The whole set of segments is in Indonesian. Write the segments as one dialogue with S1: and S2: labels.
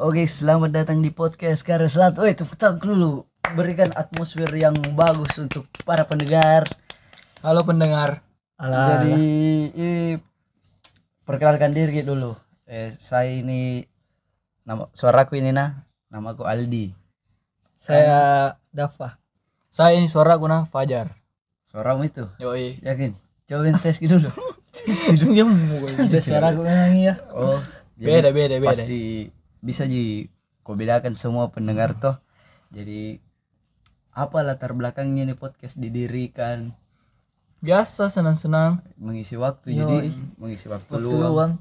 S1: Oke, selamat datang di podcast Karya Selat. Woi, tepuk tangan dulu. Berikan atmosfer yang bagus untuk para pendengar.
S2: Halo pendengar.
S1: Jadi ini perkenalkan diri dulu. Eh, saya ini nama suaraku ini nah, namaku Aldi.
S3: Saya Dafa.
S2: Saya ini suara guna Fajar.
S1: Suaramu itu
S2: Yoi.
S1: yakin? Cobain tes gitu dulu.
S2: Hidungnya
S3: Ada suara gue memang
S2: ya.
S3: iya.
S1: Oh,
S2: Beda, beda, beda.
S1: Pasti bisa di kau bedakan semua pendengar toh. Jadi apa latar belakangnya nih podcast didirikan?
S2: Biasa senang-senang.
S1: mengisi waktu jadi mengisi waktu, luang.
S3: Luang.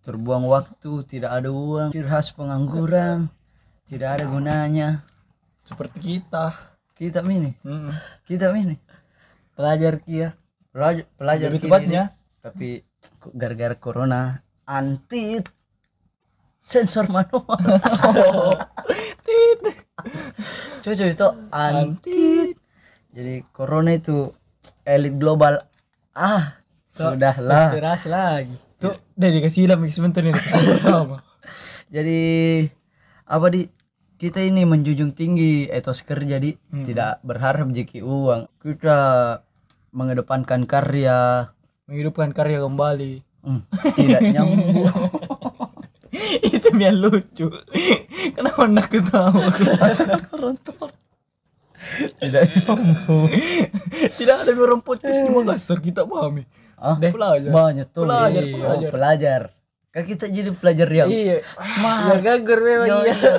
S1: terbuang waktu tidak ada uang ciri khas pengangguran tidak ada gunanya
S2: Seperti kita.
S1: kita ini
S2: Mm.
S1: kita ini
S3: Pelajar Kia.
S1: pelajar pelajar
S2: Lebih
S1: kini
S2: tepatnya.
S1: nih. tapi kok gara-gara corona anti sensor manual cucu itu anti jadi corona itu elit global ah sudahlah
S3: Inspirasi lagi.
S2: Tuh, udah dikasih ilham sebentar nih. episode pertama.
S1: Jadi apa di kita ini menjunjung tinggi etos kerja di tidak berharap jeki uang. Kita mengedepankan karya
S2: Menghidupkan karya kembali.
S1: Hmm, tidak nyambung.
S2: Itu biar lucu. Kenapa anda ketawa?
S1: tidak nyambung.
S2: Tidak ada orang podcast di Makassar kita pahami.
S1: Ah,
S2: Pelajar.
S1: banyak tuh.
S2: Iya. Pelajar,
S1: Iya. Oh, pelajar. Kan kita jadi pelajar yang
S3: Iya. Smart. Gagur memang
S1: Yo,
S3: iya.
S1: iya.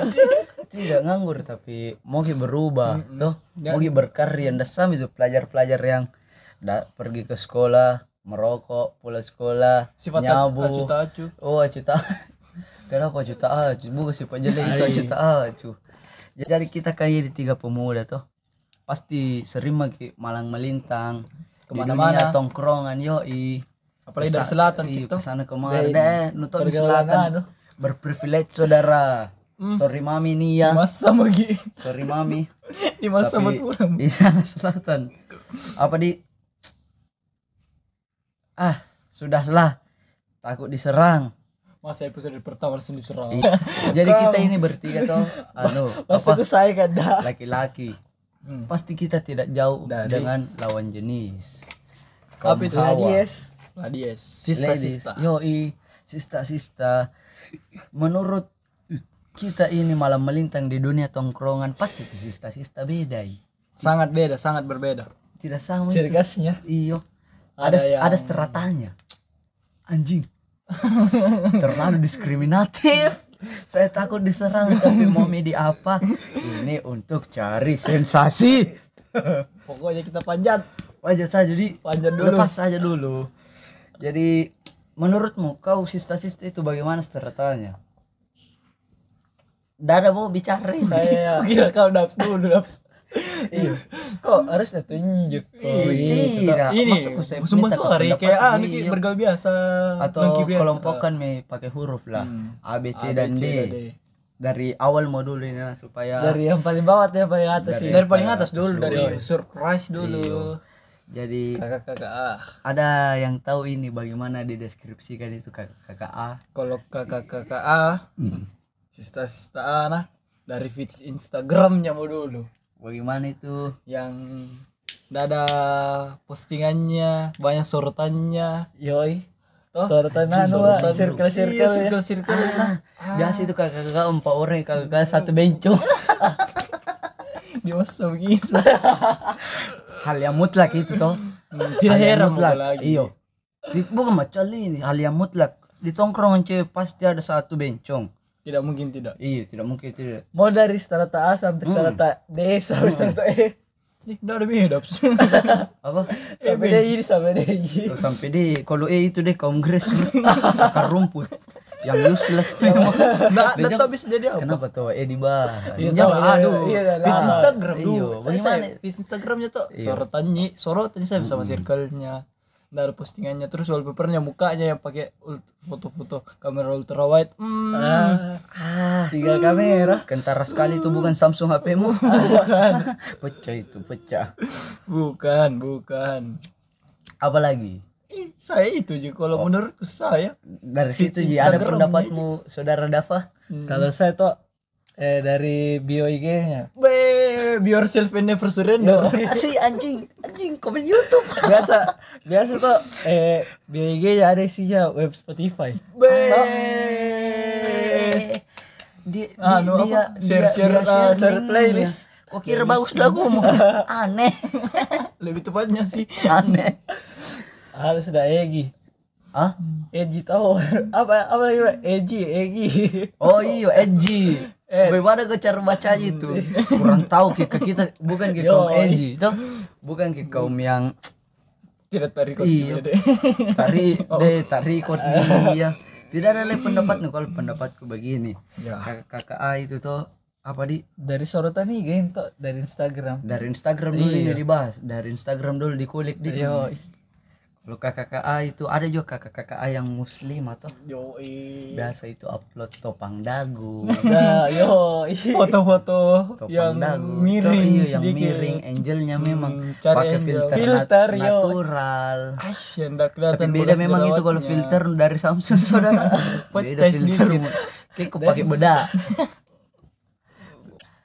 S1: tidak nganggur tapi mau ki berubah toh mau ki berkarya ndak sama itu pelajar-pelajar yang da, pergi ke sekolah merokok pulang sekolah
S2: Sifat
S1: nyabu
S2: acu-acu.
S1: oh acu tak kenapa acu tak acu bukan sifat jelek itu acu tak acu jadi kita kaya di tiga pemuda toh pasti sering maki malang melintang kemana-mana tongkrongan yoi
S2: Apalagi dari selatan gitu.
S1: kita
S2: kita.
S1: sana kemarin deh nonton di selatan berprivilege saudara
S2: Hmm.
S1: sorry mami nih ya
S2: Masa bagi.
S1: sorry mami
S2: Di masa
S1: Tapi iya,
S2: matura.
S1: di sana selatan apa di ah sudahlah takut diserang
S2: Masa episode pertama langsung diserang.
S3: Iya.
S1: Iya. jadi kita ini bertiga toh anu apa
S3: Masuk ke saya kan dah.
S1: laki-laki pasti kita tidak jauh dengan lawan jenis kaum
S2: Tapi itu
S1: hawa.
S3: Yes.
S2: Ladies, sista-sista.
S1: Yoi, sista-sista. Menurut kita ini malam melintang di dunia tongkrongan pasti itu sista-sista beda. i.
S2: Sangat beda, sangat berbeda.
S1: Tidak sama
S3: Ciri
S1: itu.
S3: khasnya.
S1: Iyo. Ada ada,
S2: Ada yang-
S1: stratanya. Anjing. Terlalu diskriminatif. Saya takut diserang tapi mau media apa? Ini untuk cari sensasi.
S2: Pokoknya kita panjat.
S1: Wajar saja jadi
S2: Wajar dulu.
S1: Lepas saja dulu. Jadi menurutmu kau sista-sista itu bagaimana stratanya? Dada mau bicara ini.
S3: Saya.
S2: Aku kira kau naps dulu, naps.
S3: ya. Iya. Kok harus ditunjuk? Oh, iya.
S1: Tidak.
S2: ini
S1: Masuk saya
S2: sumpah
S1: minta
S2: suara
S1: pendapat
S2: kayak ah
S1: ini,
S2: ini
S1: yuk.
S2: bergaul biasa
S1: atau
S2: nongki biasa. Hmm. Ah,
S1: kelompokan me pakai huruf lah A B C dan
S2: C,
S1: D.
S2: dan D.
S1: Dari awal mau dulu ini lah supaya
S3: Dari yang paling bawah ke yang paling atas sih.
S2: dari paling Iya, atas dulu Iya. dari surprise dulu
S1: jadi
S2: kakak-kakak ah.
S1: ada yang tahu ini bagaimana dideskripsikan itu kakak kakak A.
S2: kalau kakak-kakak ah, sista-sista ah, nah dari feeds Instagramnya mau dulu
S1: Bagaimana itu?
S2: yang dada postingannya banyak sorotannya
S3: Yoi. Sorotan anu ah, circle-circle
S2: iya,
S3: ya.
S2: circle-circle
S1: Ah, biasa itu kakak kakak empat orang kakak kakak satu bencong.
S2: di masa begitu
S1: hal yang mutlak itu toh
S2: tidak
S1: Hal yang
S2: heran
S1: mutlak
S2: mau lagi.
S1: iyo Di- bukan macam ini hal yang mutlak di tongkrongan cewek pasti ada satu bencong
S2: tidak mungkin tidak
S1: iya tidak mungkin tidak
S3: Mau dari strata A sampai strata D sampai strata E.
S2: Nih, udah ada beda
S1: apa
S3: Sampai D ini sampai D ini.
S1: Tuh, sampai di kalau eh itu deh kongres akar rumput yang useless
S2: Nah,
S1: memang
S2: Nggak, nggak tahu bisa jadi apa.
S1: kenapa tuh eh di bar
S3: Iya,
S1: Jangan,
S3: tahu, iya,
S1: aduh
S3: iya, iya,
S2: Feeds
S3: Ah,
S2: Instagram
S1: iya,
S2: dulu.
S1: bagaimana?
S2: Bagaimana? Feeds Instagramnya tuh sorotannya, sorotannya saya sama circle-nya. Dari postingannya terus wallpapernya mukanya yang pakai ult- foto-foto kamera ultra wide. Hmm.
S1: ah
S3: Tiga kamera.
S1: kentara sekali itu bukan Samsung HPmu pecah itu pecah
S2: Bukan, bukan.
S1: apalagi
S2: saya itu juga kalau
S1: Oh.
S2: menurutku saya
S1: dari
S2: Feeds
S1: situ Ji ada
S2: Instagram
S1: pendapatmu saudara Dafa
S3: Kalau saya tuh eh dari bio IG-nya.
S2: be be yourself and never
S1: Iya.
S2: surrender
S1: asli anjing anjing komen YouTube
S3: Biasa biasa tuh eh bio IG-nya ada isinya web Spotify.
S2: be
S1: dia
S2: Anu apa?
S1: dia
S2: Share- share, uh, share
S1: link
S3: playlist.
S1: dia. kok kira bagus lagu mu aneh
S2: lebih tepatnya sih
S1: aneh
S3: Ah, sudah Egi.
S1: ah
S3: Egi E tahu apa apa lagi Pak? E Egi Egi.
S1: Oh iya, Edgy. Bagaimana kau cara baca itu? Kurang tahu ke ke kita bukan ke kaum
S3: Yoi.
S1: Edgy, toh bukan ke kaum yang
S2: tidak tarik
S1: iya.
S2: deh Oh. Ah.
S1: Tari deh tari kot ni, iya. Tidak ada lagi pendapat nih kalau pendapatku begini.
S2: Ya.
S1: Kakak-kakak A itu toh apa di
S3: Dari sorotan nih game tuh dari Instagram.
S1: dari Instagram dulu ini
S2: Iya.
S1: dibahas, dari Instagram dulu dikulik di.
S3: Yo,
S1: Kalau kakak A itu ada juga kakak-kakak A yang muslim atau
S2: Yoi.
S1: biasa itu upload topang dagu.
S3: nah, yo.
S2: foto-foto
S1: topang
S2: yang
S1: dagu Tuh,
S2: miring
S1: iya, yang
S2: sedikit Hmm,
S1: miring angelnya memang
S2: cari
S1: pakai
S2: angel.
S1: filter, nat-
S3: Filter, yo.
S1: natural
S2: Asyik, ndak kelihatan
S1: tapi beda
S2: bola
S1: memang itu kalau
S2: sejawatnya.
S1: filter dari Samsung saudara beda
S2: Pecah
S1: filter kayak kau pakai beda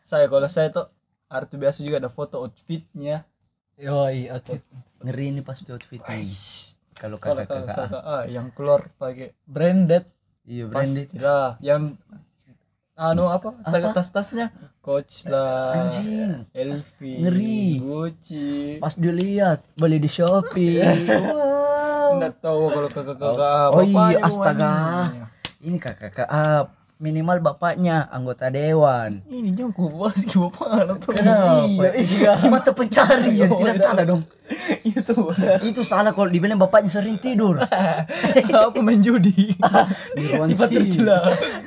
S2: saya kalau saya tuh arti biasa juga ada foto outfitnya
S3: Yo, outfit.
S1: ngeri ini pasti outfit ini kalau
S2: kalau
S1: kakak-kakak
S2: kakak ah, yang keluar pakai
S3: Branded.
S1: iya branded
S2: pasti lah yang anu apa, tas-tasnya coach lah
S1: Anjing.
S2: Elvi
S1: Ngeri.
S2: Gucci
S1: pas dilihat beli di Shopee wow
S2: nggak tahu kalau kakak-kakak
S1: oh
S2: bapaknya,
S1: iya
S2: mamanya.
S1: astaga ini kakak-kakak minimal bapaknya anggota dewan
S2: ini jangan kau bawa sih bapak anak tuh Iya,
S1: Kenapa? Mata pencari yang tidak salah dong.
S2: itu
S1: Itu salah kalau dibilang bapaknya sering tidur.
S2: apa main judi sifat tercela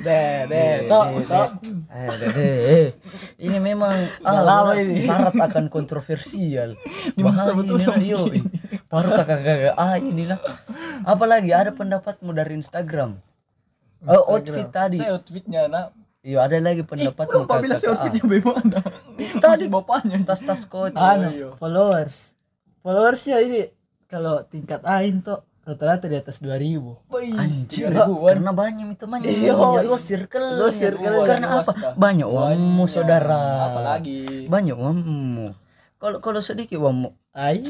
S3: Deh, deh. Tok, tok.
S1: Eh, deh, deh, eh. Ini memang ah,
S3: lama
S1: benar,
S3: ini.
S1: syarat akan kontroversial. Bahaya
S2: masa betul
S1: ini lah,
S2: lagi.
S1: yo. Baru kakak-kakak ah inilah. Apalagi ada pendapatmu dari Instagram. Oh, outfit tadi.
S2: saya outfitnya nak
S1: Iya, ada lagi pendapatmu
S2: Kenapa bilang saya
S1: kakak-kakak.
S2: outfitnya bagaimana?
S1: Tadi.
S2: Masih bapaknya
S1: Ah, Tas-tas coach.
S3: Anu, followers. Followers ya ini kalau tingkat ain tuh rata-rata di atas 2000.
S1: Anjir,
S2: Tiga ribuan.
S1: karena banyak itu banyak
S3: Iya.
S1: ya, lo circle
S3: Lo circle.
S1: karena
S2: Luas,
S1: apa
S2: dah.
S1: banyak uangmu saudara
S2: Apalagi
S1: banyak uangmu kalau kalau sedikit uangmu
S3: Ai,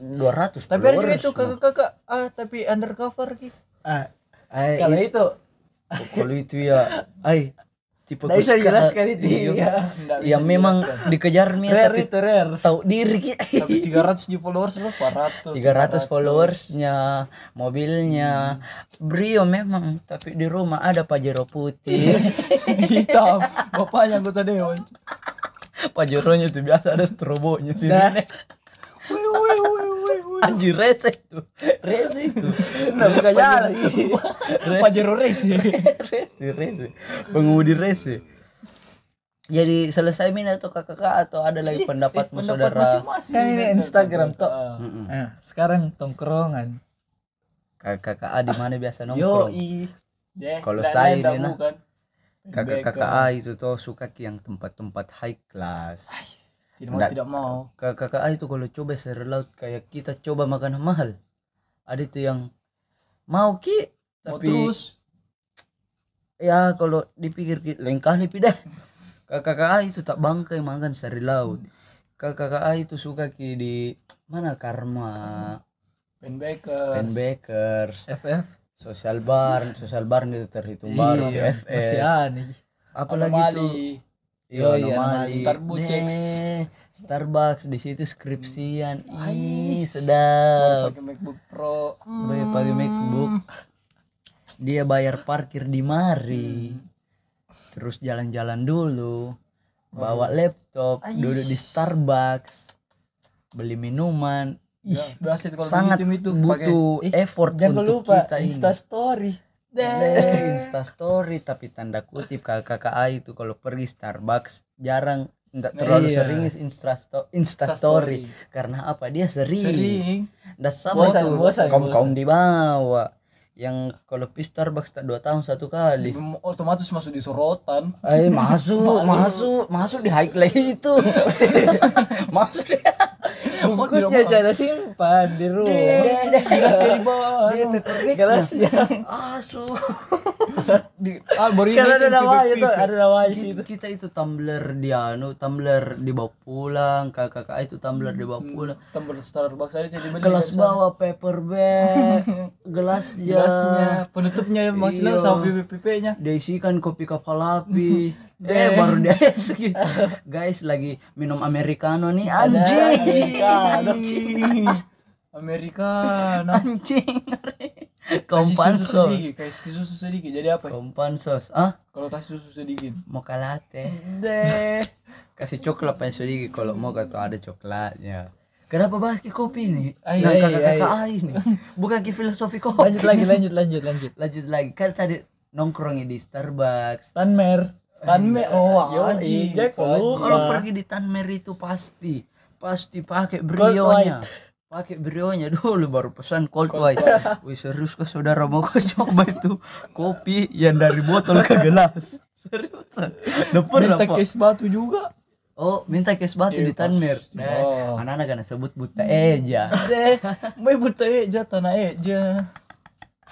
S1: 200
S2: Tapi ada juga
S1: followers.
S2: itu kakak-kakak ah tapi undercover ki.
S3: ah,
S1: Ay,
S3: kalau
S1: it-
S3: itu
S1: kalau itu ya ay tipe
S3: Nggak bisa
S1: Gus Ka-
S3: dijelaskan itu,
S1: iya.
S3: iya.
S2: Nggak bisa
S1: yang memang dikejar mie
S3: rare
S1: tapi
S3: itu rare.
S1: tahu diri ki
S2: Tapi 300 new followers itu 400.
S1: 300 followersnya, mobilnya, Brio memang, tapi di rumah ada Pajero putih.
S2: hitam. Iya, Bapaknya anggota dewan.
S1: Pajeronya tuh biasa ada strobonya sih.
S3: Nah.
S2: Woi woi woi woi woi.
S1: Anjir receh tuh. Receh itu.
S3: Sudah buka jalan.
S2: Pajero race. ya.
S1: receh, receh. Pengemudi receh. Jadi selesai minat atau kakak atau ada lagi pendapat
S2: Pendapat
S1: saudara
S2: masing-masing.
S3: Kan ini Instagram tok.
S2: Ah.
S1: Iya, Hmm.
S3: Nah, sekarang tongkrongan.
S1: kakak A "Ah, di mana biasa
S3: Yo,
S1: nongkrong?
S2: Ya,
S1: Kalau
S2: lain-lain
S1: saya ini,
S2: dah
S1: nah.
S2: bukan.
S1: Kakak-kakak A itu tuh suka ke yang tempat-tempat high class.
S2: Tidak mau
S1: Nggak.
S2: tidak mau.
S1: Kakak A itu kalau coba sayur laut kayak kita coba makanan mahal. Ada itu yang mau ki
S2: Mau
S1: tapi
S2: terus.
S1: ya kalau dipikir ki- lain kali pindah kakak itu tak bangkai makan sari laut kakak itu suka ki di mana karma
S2: Pen Baker.
S1: Pen Bakers
S3: FF.
S1: social bar social bar itu terhitung baru di
S3: Iya, masih
S1: FF
S3: aneh.
S1: apalagi itu
S2: Mali.
S1: iya
S3: iya,
S1: anomali.
S2: Starbucks.
S1: Deh, Starbucks di situ skripsian ih sedap
S2: Pakai MacBook Pro.
S1: Bayar pakai ya, MacBook. Dia bayar parkir di mari. Terus jalan-jalan dulu. Bawa laptop, duduk di Starbucks. Beli minuman. Ih,
S2: Ya, biasa itu kalau
S1: sangat
S2: begitu itu
S1: butuh effort
S3: Jangan
S1: untuk
S3: lupa
S1: kita ini.
S3: Insta story.
S1: Deh, Insta story tapi tanda kutip kakak itu kalau pergi Starbucks jarang enggak terlalu
S3: Iya.
S1: sering Insta Insta story karena apa dia
S2: sering.
S1: Dah sama
S3: Bosan,
S1: tuh
S3: bosan,
S1: kaum kaum di bawah yang kalau pi Starbucks tak dua tahun satu kali.
S2: Mem- otomatis masuk di sorotan
S1: Eh masuk, masuk, masuk di high class itu. masuk di
S2: Oh,
S3: Bungkusnya jangan ya, simpan di rumah.
S1: Deh, deh.
S2: dari bawah
S1: pakai paperback
S3: Gelas ya.
S1: asu
S2: Di- ah baru ini
S3: Karena ada gitu.
S2: SMP
S3: namanya tuh,
S2: Pipi.
S3: ada namanya sih
S1: kita, kita itu tumbler di anu tumbler dibawa pulang kakak kakak itu tumbler dibawa pulang
S2: Tumbler Starbucks aja jadi beli
S1: gelas bawa paperback gelasnya
S2: gelasnya penutupnya maksudnya
S1: Iya.
S2: sama PPP nya
S1: diisikan kan kopi kapal api eh baru dia gitu. guys lagi minum americano nih anjing
S2: anjing Amerika nah
S1: anjing
S2: kasih
S1: kompan
S2: susu
S1: sos
S2: sedikit kasih susu sedikit jadi apa ya?
S1: kompan sos ah
S2: kalau kasih susu sedikit
S1: mocha latte
S2: deh
S1: kasih coklat pengen sedikit kalau mau kata ada coklatnya kenapa bahas ke kopi nih
S2: Ay,
S1: Nah,
S2: ay,
S1: kakak-kakak ay nih bukan ke filosofi kopi
S3: Lanjut lagi, lanjut, lanjut, lanjut.
S1: lanjut lagi kan tadi nongkrongnya di Starbucks
S3: Tanmer. Iya,
S2: tanme oh
S3: Yo,
S2: anjing
S3: Jack,
S2: anjing.
S3: lu.
S1: Oh, kalau pergi di Tanmer itu pasti pasti pakai brionya pakai brionya dulu baru pesan cold white wih serius kok saudara mau kau coba itu kopi yang dari botol ke gelas seriusan udah pernah
S2: minta
S1: Pak.
S2: case batu juga
S1: Oh, minta case batu di Tanmer.
S2: pasti.
S1: Nah,
S2: Oh.
S1: anak-anak kan sebut buta eja.
S2: deh mau buta aja tanah aja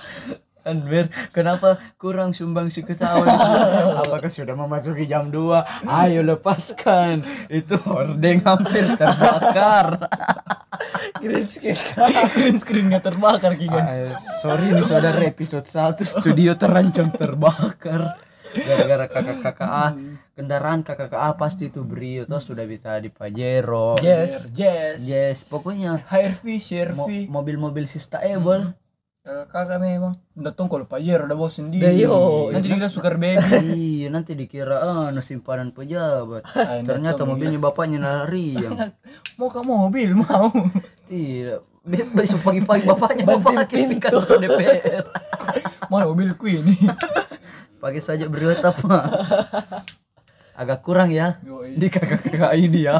S1: Tanmer, kenapa kurang sumbang si ketawa? Apakah sudah memasuki jam 2? Ayo lepaskan. Itu hordeng hampir terbakar.
S3: Green screen.
S2: green screen nggak terbakar ki guys
S1: Eh, sorry nih saudara episode 1 studio terancam terbakar. Gara-gara kakak-kakak A, kendaraan kakak-kakak A pasti itu brio toh sudah bisa di Pajero.
S2: yes yes
S1: Yes, pokoknya
S2: HRV, CRV
S1: mo- mobil-mobil sustainable.
S2: kakak memang udah tong kalau pajer udah bawa sendiri
S1: Dah, yo.
S2: nanti dikira sugar baby
S1: Iya nanti dikira ah no simpanan pejabat. Ternyata mobilnya bapaknya nari yang
S2: mau ke mobil mau
S1: tidak. Be- Besok pagi-pagi bapaknya mau pakai di kantor DPR.
S2: mau mobilku ini
S1: Pakai saja berita Pak. Agak kurang ya
S2: Yoi.
S1: di kakak-kakak ini ya.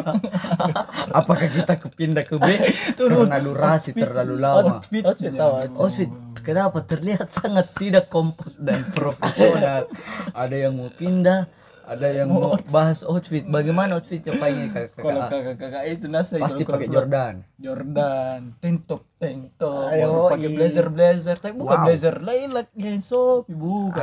S1: Apakah kita kepindah ke B? Karena durasi terlalu lama.
S2: outfit
S3: Outfit tawa.
S1: Outfit kenapa terlihat sangat tidak kompak dan profesional? ada yang mau pindah, ada yang mau bahas outfit. Bagaimana outfitnya pakai
S2: kalau
S1: kakak-kakak?
S2: kakak-kakak itu nasi
S1: Pasti
S2: kalau-
S1: pakai
S2: kalau-
S1: Jordan.
S2: Jordan, tank top, tank top, Baru pakai blazer, blazer, tapi bukan blazer lain lah yang sopi bukan.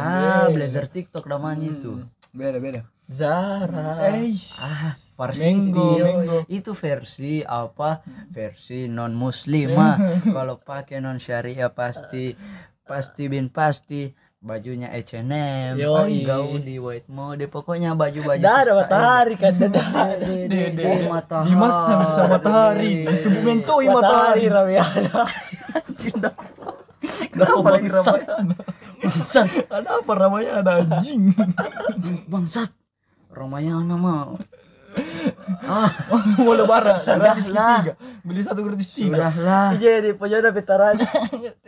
S1: Ah,
S2: Hmm.
S1: blazer TikTok namanya itu.
S2: Beda beda.
S3: Zara.
S2: Eish.
S1: Ah, versi
S2: Mango, mango.
S1: itu versi apa? Versi non muslimah. Kalau pakai non syariah pasti pasti bin pasti bajunya H&M,
S3: Yoi.
S1: gauni white mode, pokoknya baju-baju
S3: Dah ada
S1: sustain.
S3: matahari kan. Dah ada
S1: Di- di- di Oh, matahari.
S2: Dimas sama sama matahari, sebelum mentoi
S3: matahari
S2: matahari.
S3: Ramayana.
S2: Kenapa lagi
S1: Bangsat.
S2: Ramayana?
S1: Bangsat,
S2: Ada apa namanya ada anjing?
S1: bangsat. Ramayana mah. Ah,
S2: Mau lebaran, gratis
S1: Sudahlah.
S2: tiga, beli satu gratis tiga.
S1: sudahlah.
S3: Jadi pojona petaran.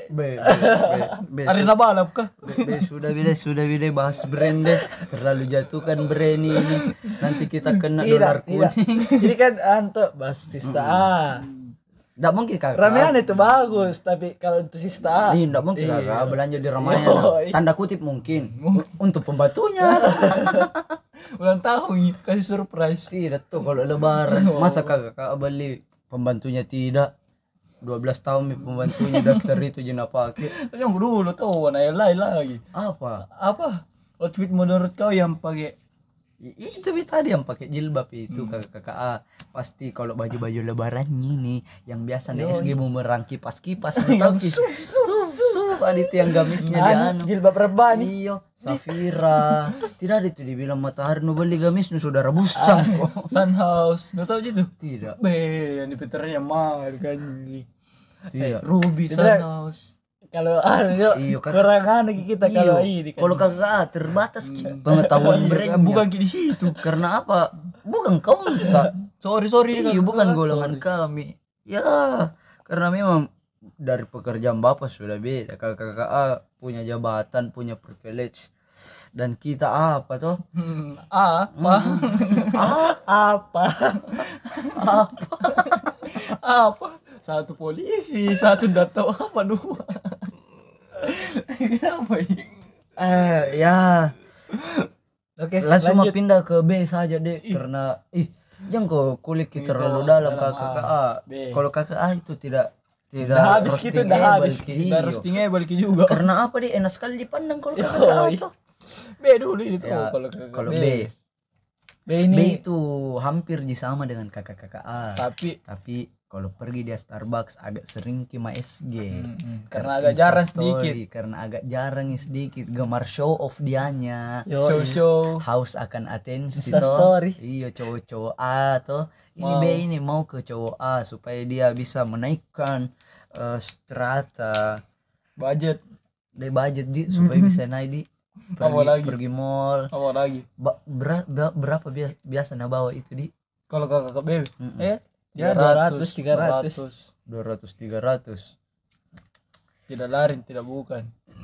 S1: Be, be, be, be,
S2: Arena balap kah?
S1: Be- be, sudah bide sudah bide bahas brand deh terlalu jatuhkan brand ini nanti kita kena dolar
S3: Tidak, tidak.
S1: kuning
S3: Ini kan anto bahas sista A.
S1: tidak mungkin kakak
S3: Ramayana Ah, itu bagus, tapi kalau untuk sista A.
S1: Ih, tidak mungkin kakak belanja di Ramayana
S3: Yoi.
S1: tanda kutip mungkin Un- untuk pembatunya
S2: Ulang tahun kasih surprise.
S1: tidak tuh kalau lebaran masa kakak kakak beli pembantunya tidak 12 tahun nih pembantunya daster itu jenak pakai
S2: Tapi yang dulu nah, tuh warna lain lagi.
S1: apa
S2: ya, Apa? Outfit menurut kau yang pakai
S1: I- itu bi tadi yang pakai jilbab itu kakak kakak ah, pasti kalau baju baju lebaran ini yang biasa di SG mau merangki pas kipas tahu ki sub sub adit yang gamisnya dia anu
S3: Jilbab rebani.
S1: iyo Safira tidak ada itu dibilang matahari nu beli gamis nu saudara busang kok
S2: Sunhouse, nggak tahu gitu.
S1: tidak
S2: Be, yang di Peternya mahal kan.
S1: tidak
S2: Ruby Sunhouse.
S3: Kalau anu yo,
S1: Iya, Kak.
S3: kurang anu kita kalau
S1: Iyo,
S3: ini kan.
S1: kalau kakak ah, terbatas ki
S2: Hmm.
S1: pengetahuan brand
S2: Bukan di situ.
S1: karena apa bukan kau minta
S2: Sorry sorry
S1: Iya bukan golongan kami. Ya, karena memang dari pekerjaan bapak sudah beda. Kakak-kakak ah, punya jabatan, punya privilege. Dan kita apa toh?
S2: Hmm, ah, apa?
S1: Hmm. Ah,
S3: Apa?
S2: apa? Satu polisi, satu data apa dua. Kenapa ini?
S1: Eh, ya
S3: Oke,
S1: langsung mah
S3: lanjut.
S1: pindah ke B saja deh karena ih jangan kok kulit kita terlalu dalam kakak A.
S2: B.
S1: Kalau kakak A itu tidak tidak
S2: Udah habis gitu,
S1: roasting
S2: udah
S1: able
S2: habis.
S1: ke
S2: Udah
S1: iyo.
S2: roastingnya balik juga.
S1: karena apa dia enak sekali dipandang kalau kakak tuh
S2: B dulu itu
S1: Ya,
S2: Oh, kalau
S1: kalau B
S3: B
S1: B
S3: ini
S1: itu hampir di sama dengan kakak-kakak ah. A
S2: Tapi
S1: tapi kalau pergi dia Starbucks agak sering ke SG
S2: Hmm, karena agak jarang sedikit.
S1: karena agak jarang sedikit gemar show off dianya
S3: yo
S2: Show show.
S1: haus akan atensi
S3: Insta
S1: toh
S3: story.
S1: iya cowok-cowok A toh ini B ini mau ke cowok A supaya dia bisa menaikkan eh, strata
S2: Budget.
S1: dari budget di supaya bisa naik di pergi,
S2: Hmm. Apa lagi?
S1: pergi mall
S2: Apa lagi?
S1: Ba- bera- bera- berapa biasa, biasa nah bawa itu di
S2: Kalau kakak kakak B. Eh,
S3: Ya, 200, 300.
S1: 200 300
S2: Tidak larin, tidak bukan.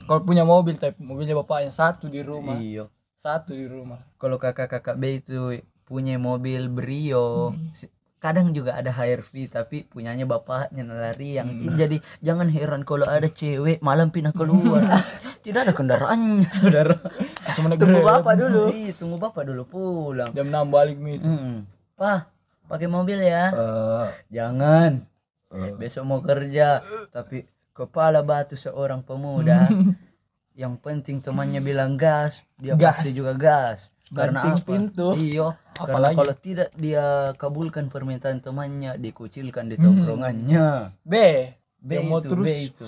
S2: Kalau punya mobil tapi mobilnya bapaknya satu di rumah.
S1: iya
S2: Satu di rumah.
S1: kalau kakak-kakak B itu punya mobil Brio Si- kadang juga ada HRV tapi punyanya bapaknya lari yang Ih, jadi jangan heran kalau ada cewek malam pindah keluar tidak ada kendaraannya saudara
S2: Langsung naik
S1: tunggu
S2: Grab.
S1: bapak dulu Iya, tunggu bapak dulu pulang
S2: Jam 6 balik nih.
S1: Mm. Pak, pakai mobil ya. Jangan. Besok mau kerja, tapi kepala batu seorang pemuda. yang penting temannya bilang gas, dia pasti juga gas. Karena apa? Iyo, karena kalau tidak dia kabulkan permintaan temannya, dikucilkan di tongkrongannya.
S2: B.
S1: B itu, B itu.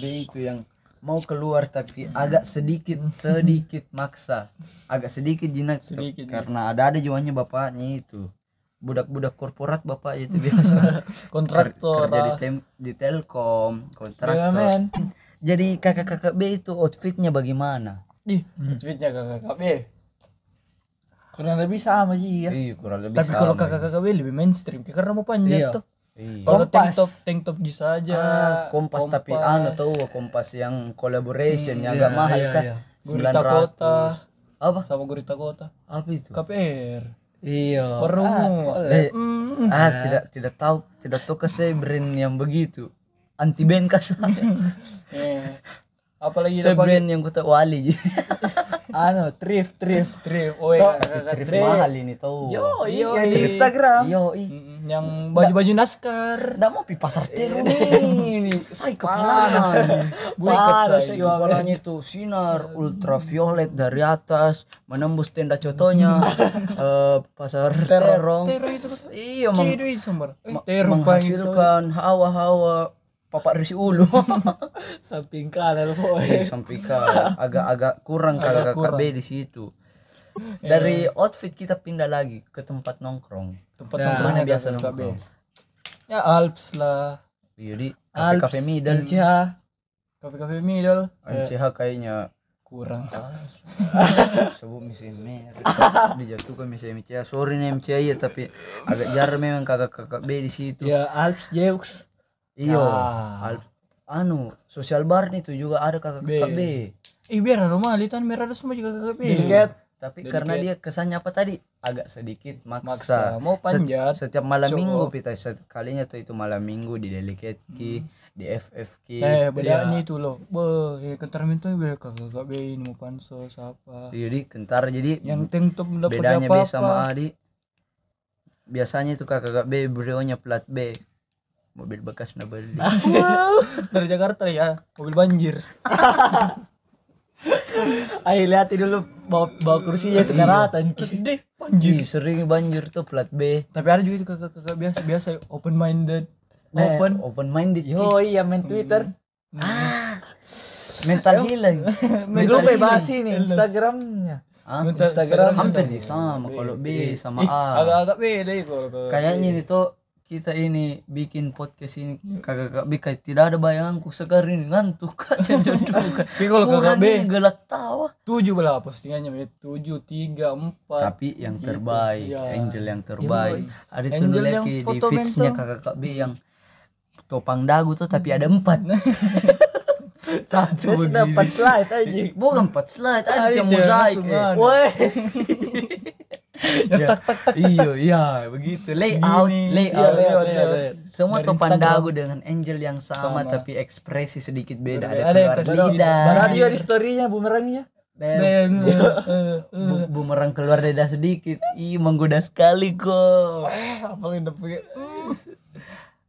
S1: B itu yang mau keluar tapi
S2: Hmm.
S1: agak sedikit sedikit maksa agak sedikit jinak tuh,
S2: Sedikit, ya.
S1: karena ada ada juannya bapaknya itu budak-budak korporat bapak itu biasa Ker-
S2: Kontraktor. ah.
S1: kerja di, tem- di telkom kontraktor
S3: BUMN
S1: jadi kakak-kakak B itu outfitnya bagaimana
S2: Ih, tweetnya kakak kakak B.
S3: kurang lebih sama sih ya
S1: iya kurang lebih
S2: Tapi kalau kakak kakak B lebih mainstream karena mau panjang
S3: Iya.
S2: tuh.
S1: Iya.
S2: Kalau tank
S3: Kompas.
S2: top tank top jis aja.
S1: Ah, kompas, tapi anu tahu kompas yang collaboration yang
S2: Hmm, iya,
S1: agak mahal kan
S2: Gurita Kota. Ah,
S1: 900. apa
S2: sama Gurita Kota.
S1: apa itu
S2: KPR.
S3: iya
S2: Perumur.
S1: Eh, ah tidak tidak tahu tidak tahu ke saya brand yang begitu anti band kas
S2: eh. Apalagi
S1: saya
S2: ada pakai
S1: brand yang kota wali
S3: anu thrift thrift
S2: trip. Oh iya, kakak
S1: Trif mahal ini tahu
S3: oh iya di Instagram
S1: yo i
S2: Mm, yang baju-baju naskar.
S1: ndak mau pi pasar teru nih ini saya kepala saya saya kepalanya itu sinar ultraviolet dari atas menembus tenda contohnya eh, pasar terong iya mem-
S2: Ciduy sumber. Eh,
S1: ma-
S2: terong
S1: menghasilkan Nah, hawa-hawa papak risi ulu
S3: samping kanan boy
S1: Eh, sampai ke agak-agak kurang kakak KB di situ. Dari outfit kita pindah lagi ke tempat nongkrong.
S2: tempat
S1: Nah,
S2: nongkrongnya
S1: mana biasa
S2: kakak kakak B.
S1: nongkrong? Iya,
S2: Ya Alps lah.
S1: Jadi kafe-kafe
S3: Alps,
S1: middle,
S3: Inca.
S2: Kafe-kafe middle
S1: MCH kayaknya
S2: kurang.
S1: sebut mesin merah. Dijatuhkan mesin MCH. Sorry nih MCH ya tapi agak jarang memang kakak-kakak B di situ.
S3: ya Alps Jeux
S1: Iyo.
S2: Ah.
S1: Al- anu, social bar nih tuh juga ada kakak-kakak B.
S2: Ih biar normal itu merah ada semua juga kakak B.
S1: Tapi karena dia kesannya apa tadi? Agak sedikit
S2: Maksa
S1: maksa.
S2: mau panjat.
S1: setiap malam minggu pita sekalinya tuh itu malam minggu di delicate key di FFK
S2: Hmm. Eh bedanya itu loh. Be, ya, kentarmin tuh be kakak kakak B ini mau pansos apa.
S1: jadi kentar jadi
S2: Yang tank top dapat
S1: bedanya B
S2: apa?
S1: sama A di biasanya itu kakak kakak B brionya plat B mobil bekas nah beli
S2: Dari Jakarta ya, mobil banjir.
S3: ayo liatin dulu bawa, bawa kursinya itu karatan
S2: Deh, banjir.
S1: Ih, sering banjir tuh plat B
S2: Tapi ada juga itu kakak-kakak biasa biasa open minded.
S1: open Eh, open minded
S3: yo iya main Twitter
S1: mental healing
S3: main lu
S1: Iya.
S3: bebas ini Instagramnya
S1: Hah?
S3: Instagram
S1: hampir di sama kalau B sama A
S2: Agak-agak beda itu kalau ke
S1: kayaknya ini tuh kita ini bikin podcast ini kakak-kakak B kayak tidak ada bayanganku sekarang ini ngantuk aja duduk
S2: Tapi kalau kakak
S1: kurang
S2: B
S1: ini gelak tawa
S2: tujuh belah postingannya ya tujuh tiga empat.
S1: tapi yang terbaik angel yang terbaik ada tuh
S2: Iya. Angel yang
S1: lagi di
S2: foto
S1: feedsnya kakak-kakak B yang topang dagu tuh tapi ada empat
S3: saya sudah empat slide aja
S1: bukan empat slide ada yang
S2: dia
S1: mozaik
S2: langsung
S1: eh.
S2: ada.
S3: woi
S1: Ya. iya iya begitu layout
S3: iya
S1: layout
S3: lihat lihat
S1: semua topang dagu dengan angel yang sama, tapi ekspresi sedikit beda ada
S2: Ada yang
S1: keluar
S2: kasih-
S1: lidah
S3: radio di storynya bumerangnya
S1: Dan bu- bumerang keluar lidah sedikit. Ih, menggoda sekali kok.
S2: Apalagi udah pakai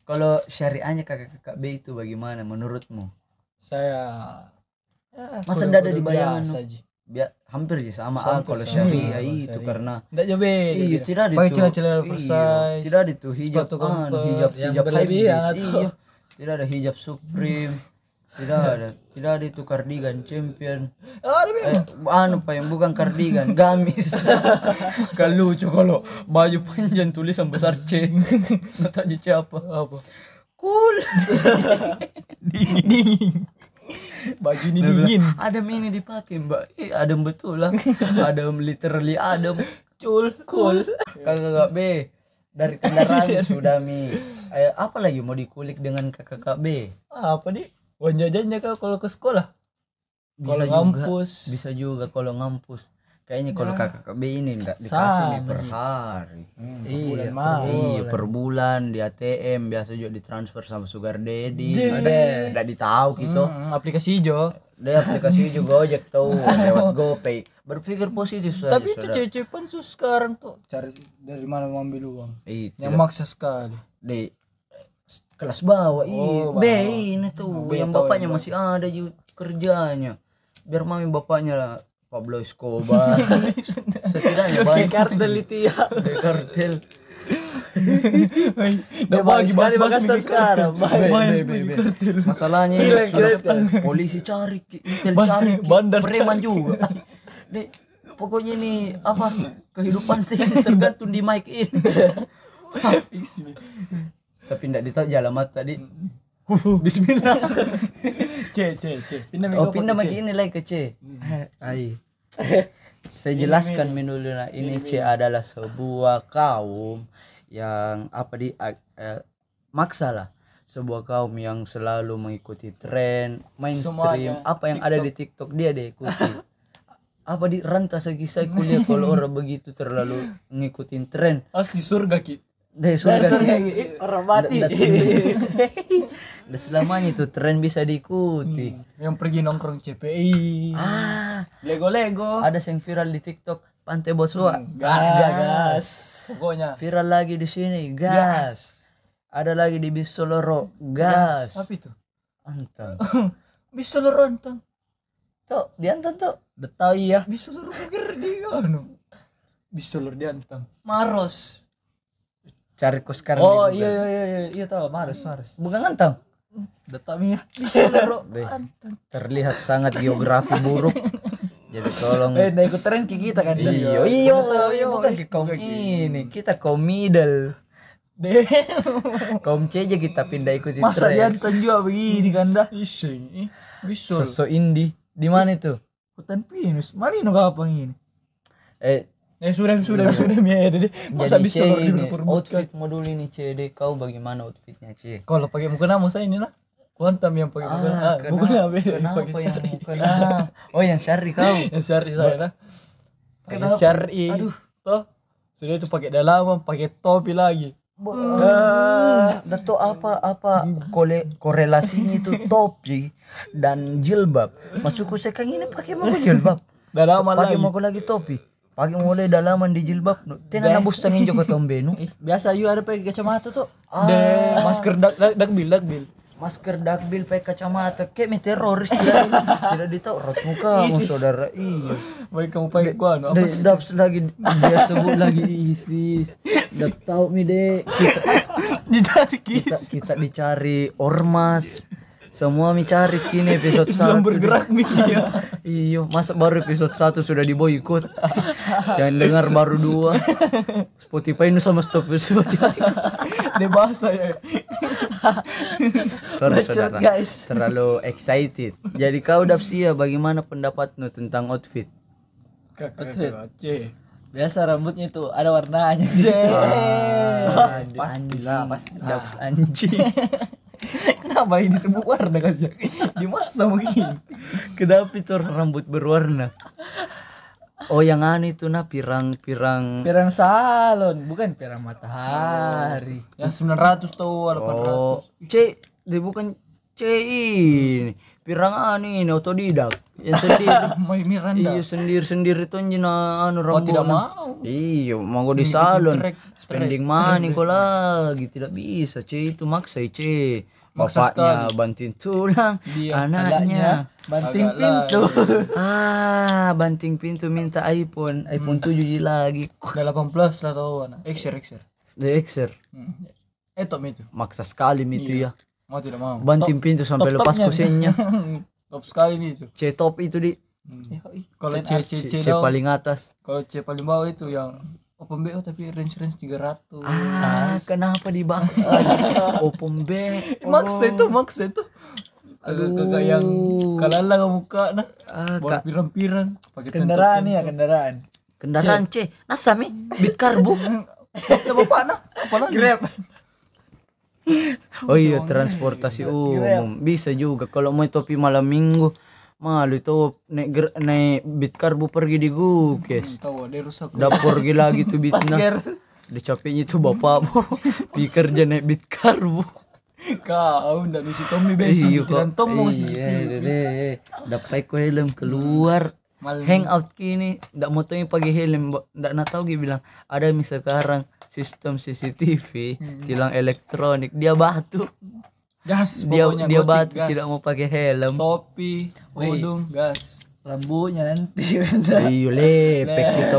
S1: Kalau syariahnya kakak-kakak B itu bagaimana menurutmu?
S2: saya ya,
S1: Masa ndak ada
S2: kurang-kurang
S1: di bayangan,
S2: biasa
S1: no?
S2: ji.
S1: Bia, hampir aja sama, ah,
S2: Hampir
S1: kalau
S2: sama,
S1: syariah
S2: kalau
S1: itu
S2: syariah.
S1: karena
S2: ndak jauh beda
S1: Iya,
S2: dia.
S1: tidak ada
S2: gitu ya? pakai
S1: itu.
S2: celana-celana
S1: Iya,
S2: oversize
S1: Tidak ada itu hijab
S2: sepatu
S1: an,
S2: comfort,
S1: hijab
S2: yang
S1: hijab
S2: berlebihan
S1: high
S2: atau-
S1: waist, Iya. Tidak ada hijab supreme. tidak ada. Tidak ada itu cardigan champion.
S2: Ah, ada memang.
S1: Eh, anu pak yang bukan kardigan, gamis. kalau Kan lucu kalau baju panjang tulisan besar C. Nggak tahu C apa.
S2: apa
S1: Cool.
S2: dingin baju ini dingin
S1: Adam ini dipakai mbak. Eh, Adam betul lah. Adam literally Adam. Cool, cool. Kakak B dari kendaraan sudah mi. Eh, apa lagi mau dikulik dengan kakak B?
S2: Ah, apa nih uang jajannya kau kalau ke sekolah
S1: Bisa
S2: kalau
S1: juga.
S2: ngampus
S1: Bisa juga kalau ngampus. Kayaknya kalau
S2: Nah.
S1: kakak B ini enggak dikasih nih per hari.
S2: Hmm, bulan
S3: Iya.
S2: mah
S1: Iya, per bulan di ATM biasa juga ditransfer sama Sugar Daddy.
S2: Jeng.
S1: Ada enggak ditahu gitu.
S2: Hmm, aplikasi hijau
S1: Dia aplikasi juga Gojek tahu lewat GoPay. Berpikir positif saja.
S2: tapi itu cewek-cewek pun tuh sekarang tuh cari dari mana mau ambil uang
S1: Iya,
S2: yang maksa sekali
S1: di kelas bawah iya
S2: Oh,
S1: B
S2: bawah.
S1: ini
S3: Oh,
S1: tuh
S2: B
S1: yang
S2: tahu
S3: iya.
S1: bapaknya masih ada juga kerjanya biar mami bapaknya lah Pablo Escobar setidaknya baik
S3: Kartel itu ya.
S1: dari kartel
S2: Dah
S3: Bagi sekali makasih sekarang. Baik.
S1: masalahnya ini
S3: Hilang
S1: sudah
S3: kereta.
S1: polisi cari Ki. intel
S2: Bandar-
S1: cari Ki.
S2: bandar
S1: preman juga Dek, pokoknya ini apa kehidupan sih tergantung di mic ini tapi tidak ditahu jalan mata tadi Huh, Bismillah
S2: C C C pindah
S1: Oh, pindah lagi ini lagi ke C. Ai. Saya jelaskan mi dulu nah. Ini C adalah sebuah kaum yang apa di ag- eh, maksa lah. Sebuah kaum yang selalu mengikuti tren, mainstream,
S2: Semuanya.
S1: apa yang ada di TikTok dia dia ikuti. apa di rantas lagi saya kuliah kalau orang begitu terlalu ngikutin tren
S2: asli surga ki
S1: dari surga
S3: Orang mati.
S1: kan? Dah sel- dah selamanya itu tren bisa diikuti
S2: yang pergi nongkrong CPI
S1: ah
S2: lego lego
S1: ada yang viral di TikTok Pantai Boswa
S2: gas pokoknya
S1: viral lagi di sini gas ada lagi di bis Soloro gas
S2: apa itu
S1: anteng
S2: bisa lo rontang
S1: tuh di anteng tuh
S3: Betul ya.
S2: bisa lo pikir dia anu bisa lo diantam maros
S1: cari kos sekarang di
S3: Oh
S1: Google.
S3: iya iya iya iya, iya tahu Maris Maris.
S1: bukan anteng
S3: Detak mi ya.
S2: bisa lo
S1: Deh, terlihat sangat geografi buruk jadi tolong Iya,
S3: Eh ndak ikut tren ki kita kan.
S1: iyo iyo
S3: ya.
S1: iyo iya, bukan ke kaum ini kita kaum middle
S2: deh
S1: kaum C aja kita pindah ikutin
S3: Masa dia
S1: tren
S3: juga begini kan dah.
S2: iseng ih bisa
S1: sosok indie di mana itu
S3: Hutan pinus. Mari nu gampang ini.
S1: eh
S2: eh sudah sudah sudah ya deh masa
S1: jadi C
S2: bisa lo
S1: ini
S2: dulu
S1: outfit modul ini C deh kau bagaimana outfitnya C
S2: kalau pakai mukena mau saya ini lah kuantam yang pakai mukena ah,
S1: kenapa-
S2: mukena beda
S1: kenapa
S2: pakai
S1: yang
S2: syari
S1: bukan ah oh yang syari kau
S2: yang syari saya lah pakai syari aduh toh sudah itu pakai dalaman pakai topi lagi
S1: Dato Hmm. apa apa kole, korelasinya itu topi dan jilbab masukku sekarang ini pakai mau jilbab
S2: Dalaman
S1: pakai
S2: lagi.
S1: mau lagi topi pakai mulai dalaman di jilbab no. tenan nabus tangin joko tombe no.
S3: Ih, biasa you ada pakai kacamata tuh.
S1: Ah.
S2: deh masker dak dak dak bil dak bil
S1: masker dakbil pakai kacamata kayak mi teroris tidak tidak ditahu rot muka saudara iya
S2: baik kamu pakai gua anu apa
S1: Dari daps lagi dia sebut lagi ISIS. Udah tahu mi deh kita
S2: dicari ki
S1: kita, kita dicari ormas. Semua mi cari kini episode
S2: belum
S1: 1.
S2: bergerak nih ya
S1: Iyo, masa baru episode 1 sudah diboikot. Yang dengar baru dua. Spotify nu sama stop Spotify.
S2: deh bahasa ya
S1: Sorry saudara.
S3: guys.
S1: Terlalu excited. Jadi kau Dapsia bagaimana pendapatmu tentang outfit?
S2: kakak c
S3: Biasa rambutnya tuh ada warnanya. Ah,
S1: Pastilah, pasti Daps anjing.
S2: kenapa ini semua warna kasih di masa mungkin
S1: Kenapa itu rambut berwarna? Oh yang aneh itu nah pirang-pirang Oh,
S3: Pirang salon, bukan pirang matahari.
S2: yang 900 tuh 800
S1: Oh C dia bukan C ini Pirang aneh ini otodidak yang sendiri
S2: Mau Miranda.
S1: iyo sendiri sendiri tuh jina anu
S2: Mau
S1: rambut
S2: Oh, tidak mau.
S1: iyo mau gue di salon
S2: track,
S1: spending money kok lagi tidak bisa cuy itu maksa cuy bapaknya banting tulang anaknya
S3: banting
S2: Agak
S3: pintu
S1: ya. ah banting pintu minta iPhone iPhone 7 ji lagi
S2: Udah 18 lah tau anak. Eh, Ekser ekser.
S1: the Xer
S2: Hmm. Eh top itu.
S1: maksa sekali itu ya
S2: Mau tidak mau.
S1: banting pintu sampai lepas kusennya
S2: top sekali nih itu. Hmm.
S1: C top itu di
S2: Kalau C C C
S1: C
S2: down,
S1: paling atas
S2: kalau C paling bawah itu yang Open BO tapi range range 300.
S1: ah kenapa dibangsa Oppo B
S2: Maksa Eh, itu, maksa itu. Kagak-kagak yang kalah lah muka nah.
S1: Ah,
S2: Bawa pirang-pirang pakai
S3: kendaraan nih ya kendaraan
S1: kendaraan C nasa mi bit karbu
S2: Kita bapak nah, apa lagi?
S3: grab
S1: oh iya transportasi umum bisa juga kalau mau topi malam minggu malu itu naik ger- naik bit karbu pergi di gukes
S2: Tahu ada rusak.
S1: dapur gila gitu bitna udah capeknya itu bapak bu pikir dia naik bit karbu
S2: Kau ndak bisa Tommy besok
S1: Iya,
S2: tidak
S1: kok.
S2: temu
S1: iya iya, iya, iya. dapat ko helm keluar
S2: Malam.
S1: hangout kini ndak mau tahu pagi helm ba- ndak nak tahu dia bilang ada mi sekarang sistem CCTV
S2: Hmm.
S1: tilang elektronik dia batu
S2: Gas
S1: dia
S2: pokoknya
S1: dia
S2: gotik,
S1: batu
S2: gas.
S1: tidak mau pakai helm
S2: topi, godung, gas.
S3: rambutnya nanti benda
S1: iya lepek kita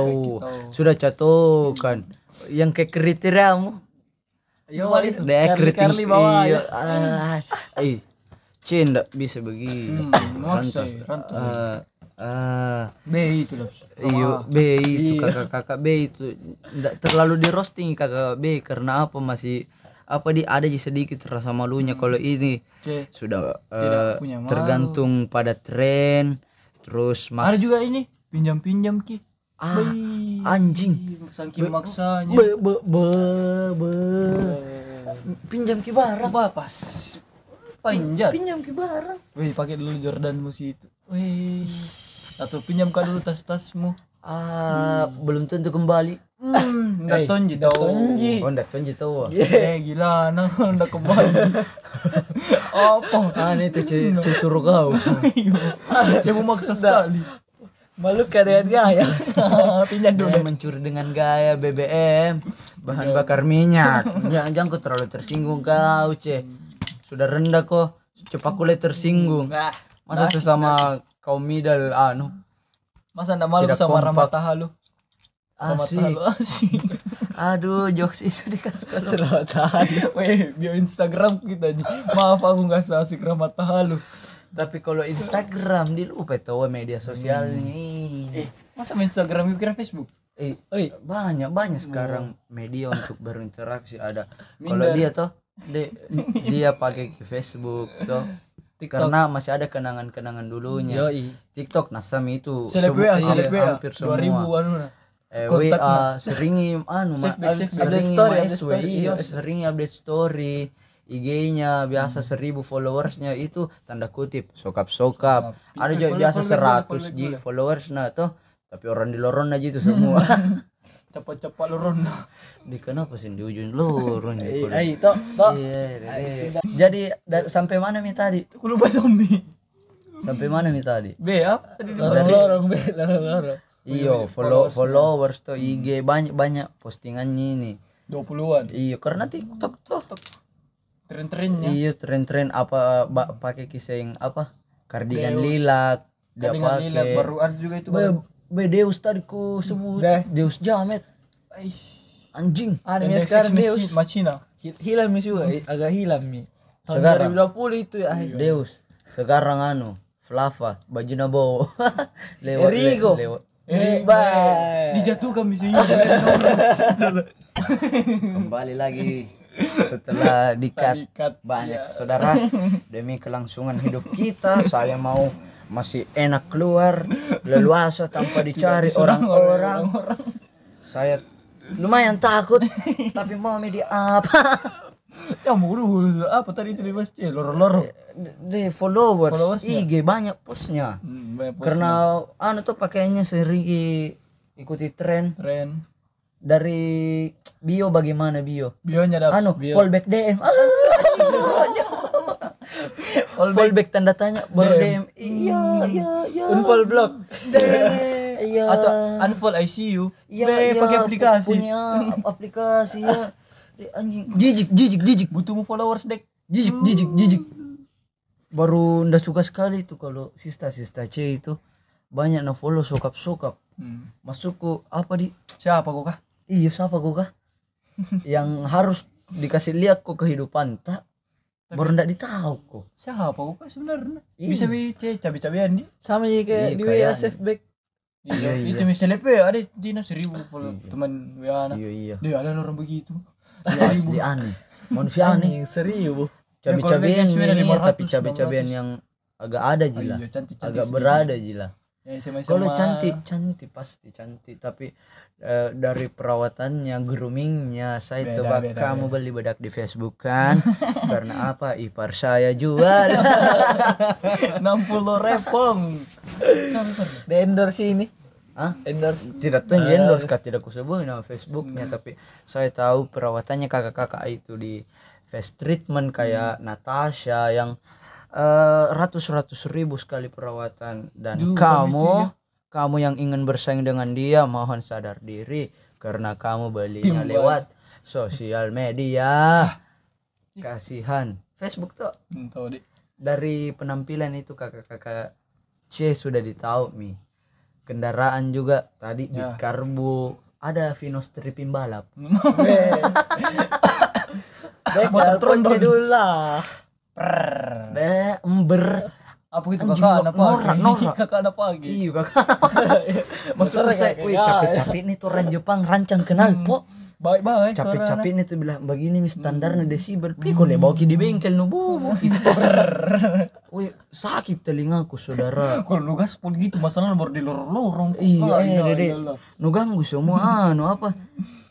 S1: sudah
S2: Iya.
S1: catokan yang ke kriteriamu
S2: Iya,
S3: yo itu
S1: deh kritik
S3: Curly-curly bawah
S1: iya ah, eh Cin ndak bisa begini
S2: Hmm, maksa rantai.
S1: Ah, ah.
S2: B itu lah.
S1: Iyo, B
S2: Iya.
S1: itu kakak-kakak B itu ndak terlalu di roasting kakak B karena apa masih apa di ada aja sedikit rasa malunya kalau ini
S2: C.
S1: sudah eh,
S2: Hmm. punya malu.
S1: tergantung pada tren terus
S2: Ada
S1: mas
S2: juga ini pinjam-pinjam ki.
S1: Ah, anjing
S2: Saking maksanya.
S1: be be be, be. Iya. pinjam ki barang
S2: Bapas. Panjat.
S1: pinjam ki barang
S2: Wih, pakai dulu Jordan musi itu. Wih. Atau pinjamkan dulu tas-tasmu.
S1: ah belum tentu kembali
S2: Hmm, ndak tonji
S1: oh ndak tuan jitu wah.
S2: Eh, gila, nah ndak kembali. Apa?
S1: aneh itu cuy cuy suruh kau
S2: Cemu maksa sekali.
S3: malu dengan
S1: ya?
S3: gaya
S2: Pinjam dulu.
S1: Dia Eh, mencuri dengan gaya BBM, bahan bakar minyak. jangan jangan kau terlalu tersinggung kau, Ce. Sudah rendah kok, cepat kulit tersinggung.
S2: Nah,
S1: Masa sesama kaum middle anu.
S2: masa ndak malu sama Rama Taha lu? Rama
S1: Asik.
S2: Taha lu asik.
S1: Ah, Aduh, jokes itu dikasih kalau
S2: Weh, bio Instagram kita aja. Maaf aku nggak seasik Rama Taha lu.
S1: Tapi kalau Instagram dilupa itu wah, ya media sosialnya. Ih.
S2: Masa main Instagram kira Facebook?
S1: Hmm. Eh, banyak banyak sekarang media untuk berinteraksi ada. Kalau dia toh de- dia pakai ke Facebook toh. Karena masih ada kenangan-kenangan dulunya. TikTok Nasami itu
S2: Seleb
S1: semua-
S2: WA,
S1: iya,
S2: seleb WA.
S1: hampir semua.
S2: 2000 anu nah.
S1: Eh,
S2: kontak
S1: WA seringi anu ma-
S2: back, save back.
S1: seringi
S3: Update story,
S1: ma-
S3: update
S1: SW,
S3: story,
S1: iya, seringi update story. IG-nya biasa seribu followersnya itu tanda kutip sokap sokap. Ada juga biasa 100 ji followersnya toh. Tapi orang di lorong aja itu semua.
S2: Cepat-cepat lu ronda.
S1: Di kenapa sih di ujung lorong ya, kalau-
S3: eh tok tok
S1: Iya, iya, iya. Jadi da- sampai mana mi tadi?
S2: Aku lupa zombie.
S1: Sampai mana mi tadi?
S2: B apa tadi?
S3: lorong lorong be lorong lorong
S1: Iyo, follow followers tuh IG banyak banyak postingannya ini.
S2: 20-an.
S1: Iya, karena TikTok tuh.
S2: Tren-trennya.
S1: Iya, tren-tren apa ba- pakai kisah yang apa? Kardigan lilac, dia
S2: Dengan lilat
S1: pakai.
S2: baru ada juga itu.
S1: Be, be Deus tadi ku sebut. Deus jamet. Anjing.
S3: anime sekarang Deus
S2: Macina.
S3: Hil- hilang mi juga eh, agak hilang mi tahun
S1: Sekarang.
S3: 2020 itu ya eh.
S1: Deus. Sekarang anu, Flava, baju nabo. lewat, le-
S3: Erigo.
S1: lewat.
S3: Eh, bye.
S2: Dijatuhkan bisa
S1: Kembali lagi setelah Mm. dikat iya.
S2: Dikat,
S1: banyak saudara demi kelangsungan hidup kita saya mau masih enak keluar leluasa tanpa dicari orang-orang saya lumayan takut tapi mau media apa
S2: Ya mulu mulu. apa tadi itu dibahas C lorong-lorong.
S1: di followers,
S2: Followersnya.
S1: IG banyak postnya
S2: Hmm, banyak post.
S1: karena anu tuh pakainya sering ikuti tren
S2: Tren.
S1: dari bio bagaimana bio
S2: Bionya dapat.
S1: anu fallback DM Ah, fallback tanda tanya baru DM iya iya iya
S2: unfollow block
S1: iya
S2: atau unfollow ICU
S1: iya iya,
S2: Be, pakai
S1: aku
S2: aplikasi
S1: Ya, punya aplikasi ya Di anjing
S2: jijik jijik jijik butuhmu followers dek
S1: jijik jijik jijik baru ndak suka sekali tuh kalau sista sista C itu banyak na follow sokap sokap masukku apa di
S2: Hmm. siapa kok kah
S1: iya siapa kok kah yang harus dikasih lihat kok kehidupan tak baru ndak ditahu kok
S2: siapa kok kah sebenarnya bisa bice cabai cabian di
S3: sama ya
S1: Iya,
S3: kayak di
S1: kayak
S3: WA
S1: aneh.
S3: safe back
S2: Iya, itu misalnya pe ada dina seribu follow teman Wiana.
S1: iya iya
S2: Dia ada orang begitu.
S1: asli aneh manusia aneh
S3: anjing seribu
S1: cabai-cabian
S2: Ya, kalau dia
S1: ini
S2: sudah
S1: ya, tapi
S2: 500,
S1: cabai-cabian
S2: 600.
S1: yang agak ada jila
S2: Iya, cantik-cantik
S1: agak
S2: sedikit.
S1: berada jila
S2: Ya, sama -sama.
S1: kalau cantik cantik pasti cantik tapi eh, dari perawatannya groomingnya saya
S2: Beda,
S1: coba
S2: beda,
S1: kamu beli bedak di Facebook kan karena apa ipar saya jual
S2: 60 repong. Sampai.
S3: di endorse ini
S1: Hah?
S3: endorse
S1: tidak tuh di endorse kak tidak kusebut nama Facebooknya tapi saya tahu perawatannya kakak-kakak itu di face treatment kayak Natasha yang eh, ratus-ratus ribu sekali perawatan dan kamu kamu yang ingin bersaing dengan dia mohon sadar diri karena kamu belinya lewat sosial media kasihan Facebook tuh
S2: Hmm, Tahu deh.
S1: dari penampilan itu kakak-kakak C sudah ditahu mi kendaraan juga tadi di karbu ada Vinos Tripin balap
S3: back telepon sih dulu lah
S1: eh ember
S2: Apa itu
S1: Anjing,
S2: kakak anak
S1: norak,
S2: pagi?
S1: norak.
S2: Kakak anak pagi.
S1: iya kakak maksud saya wih capek-capek nih tuh orang Jepang rancang kenal po
S2: Baik baik.
S1: capek-capek nih tuh bilang begini mi standarnya desibel pi kau ya, bawa ki di bengkel nu bubu gitu wih sakit telingaku saudara
S2: Kalau lu gaspol gitu masalah baru di lorong-lorong. kok.
S1: Iya,
S2: Ah,
S1: eh, Dede.
S2: iyalah.
S1: Nu ganggu semua anu apa?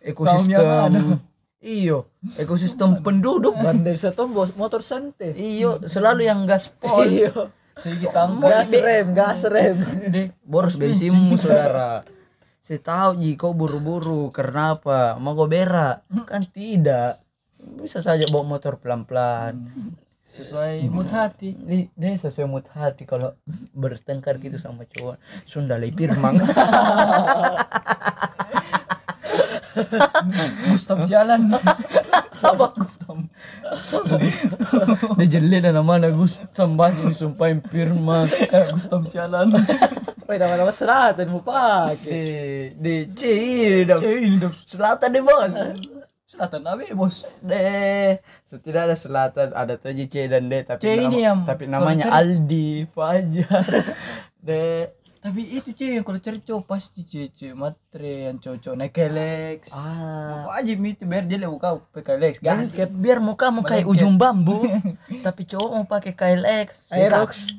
S1: Ekosistem. Iyo, ekosistem penduduk.
S3: baru dia bisa tombol motor santai
S1: Iyo, selalu yang gaspol.
S3: iya
S2: Saya gitu, tangkap
S3: gas rem gas rem
S2: deh.
S1: Boros bensinmu, saudara. Saya tahu Ji, kau buru-buru. Karena apa? Mau kau berak? Kan tidak. Bisa saja bawa motor pelan-pelan.
S2: Sesuai mood hati.
S1: Ini deh sesuai mood hati kalau bertengkar gitu sama cowok Sunda lepir mang.
S2: Gustam jalan. Sama Gustam.
S1: Dia jeli dan mana Gus sambaju sumpahin pirma.
S2: Eh, Gustam sialan.
S3: Woi, nama-nama seratan mau pakai.
S1: di di C ini dong.
S2: Eh, ini dong.
S1: selatan deh bos
S2: Selatan abe bos.
S1: deh setidak ada selatan ada tuh aja C dan D tapi
S2: C ini yang
S1: tapi
S2: kalau
S1: namanya
S2: cari-
S1: Aldi Fajar deh
S2: Tapi itu cuy yang kalau cari cowok pasti cuy cuy matre yang cowok cowok naik Alex.
S1: Ah. Iya,
S2: Wajib itu biar dia lewat kau pakai Alex. Gas.
S1: Basket. biar muka mau kayak ujung bambu tapi cowok mau pakai KLX
S3: Aerox.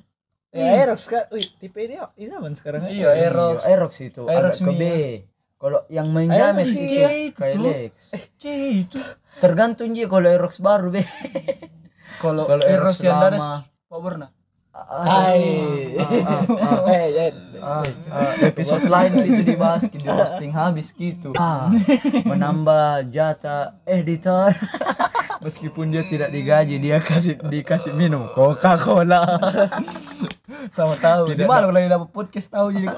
S3: Ya, Aerox kan. Wih, tipe ini ini zaman sekarang.
S2: Iya Eros.
S1: Aerox Aerox itu
S2: Aerox
S1: agak ke
S2: ini
S1: B kalau yang menjamin
S2: Aerox
S1: itu
S2: iya itu.
S1: KLX
S2: Cuy itu.
S1: tergantung dia kalau Aerox baru be
S2: Kalau
S1: Kalau Eros
S2: Eros yang dari
S1: lama.
S2: power nah.
S3: Hai. Eh, ya.
S1: Ah, ah, episode lain itu dibahas di roasting habis gitu ah, menambah jatah editor meskipun dia tidak digaji dia kasih dikasih minum coca cola
S2: Sama tahu. Di mana kalau dapat podcast tahu jadi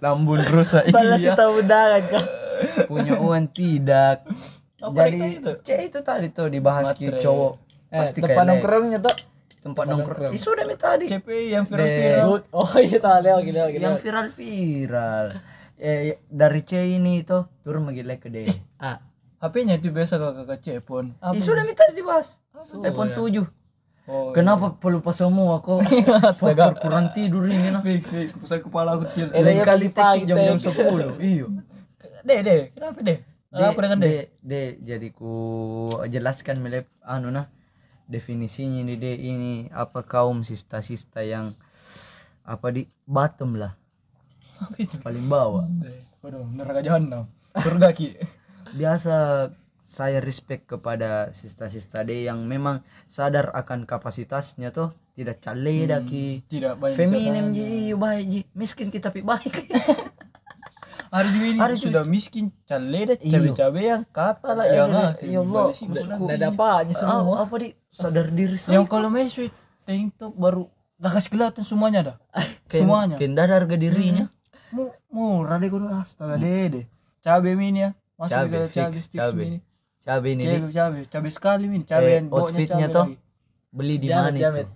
S1: lambun rusak
S3: Balas
S1: iya
S3: itu undangan kah?
S1: punya uang tidak
S2: Apa
S1: jadi
S2: itu itu?
S1: C itu tadi tuh dibahas ki
S2: Matre.
S1: cowok
S3: Eh,
S1: pasti
S3: tempat
S1: kayak
S3: nongkrongnya tuh.
S1: tempat nongkrong Ih, sudah mi tadi
S2: CPI yang viral-viral.
S3: Good. Oh, iya tahu leo gitu leo gitu.
S1: yang viral viral eh dari C ini itu turun menggilai ke D
S3: Ah.
S2: HP-nya itu biasa kakak Ah, kakak cepon.
S1: Ih, sudah minta dibahas. iPhone 7.
S2: Oh, Iya,
S1: Kenapa pelupa semua kok? Faktor kurang tidur ini nah.
S2: fix fix. Pusat kepala aku Eh, til.
S1: Lain kali
S3: pagi,
S1: tek jam-jam
S3: tek.
S1: 10. Iyo.
S2: Deh deh. Kenapa deh? Kenapa Ah, dengan deh?
S1: de, de, jadi ku jelaskan melep anu nah definisinya ini de ini apa kaum sista-sista yang apa di bottom lah
S2: Apa itu?
S1: paling bawah
S2: Deh. Waduh, neraka jahanam. Surga ki.
S1: biasa saya respect kepada sista-sista de yang memang sadar akan kapasitasnya tuh tidak cale daki
S2: Hmm, Tidak banyak
S1: feminim ji baik ji miskin kita pi baik
S2: hari ini hari sudah miskin caleda cabe-cabe yang kata lah ya Allah ya Allah
S3: ada apanya semua
S1: apa di sadar diri sih
S2: yang kalau main sweet tank top baru gak kasih kelihatan semuanya dah semuanya Hmm.
S1: kenda ada harga dirinya
S2: mu murah deh gue astaga deh deh cabe mini ya
S1: Hmm.
S2: masuk
S1: cabe
S2: juga cabe
S1: fix
S2: tips mini
S1: cabe cabe ini di
S2: cabe cabe cabe sekali mini cabe
S1: eh,
S2: yang bawahnya
S1: outfitnya
S2: cabe
S1: toh
S2: lagi
S1: beli di
S3: Jamet,
S1: mana
S3: jamet.
S1: itu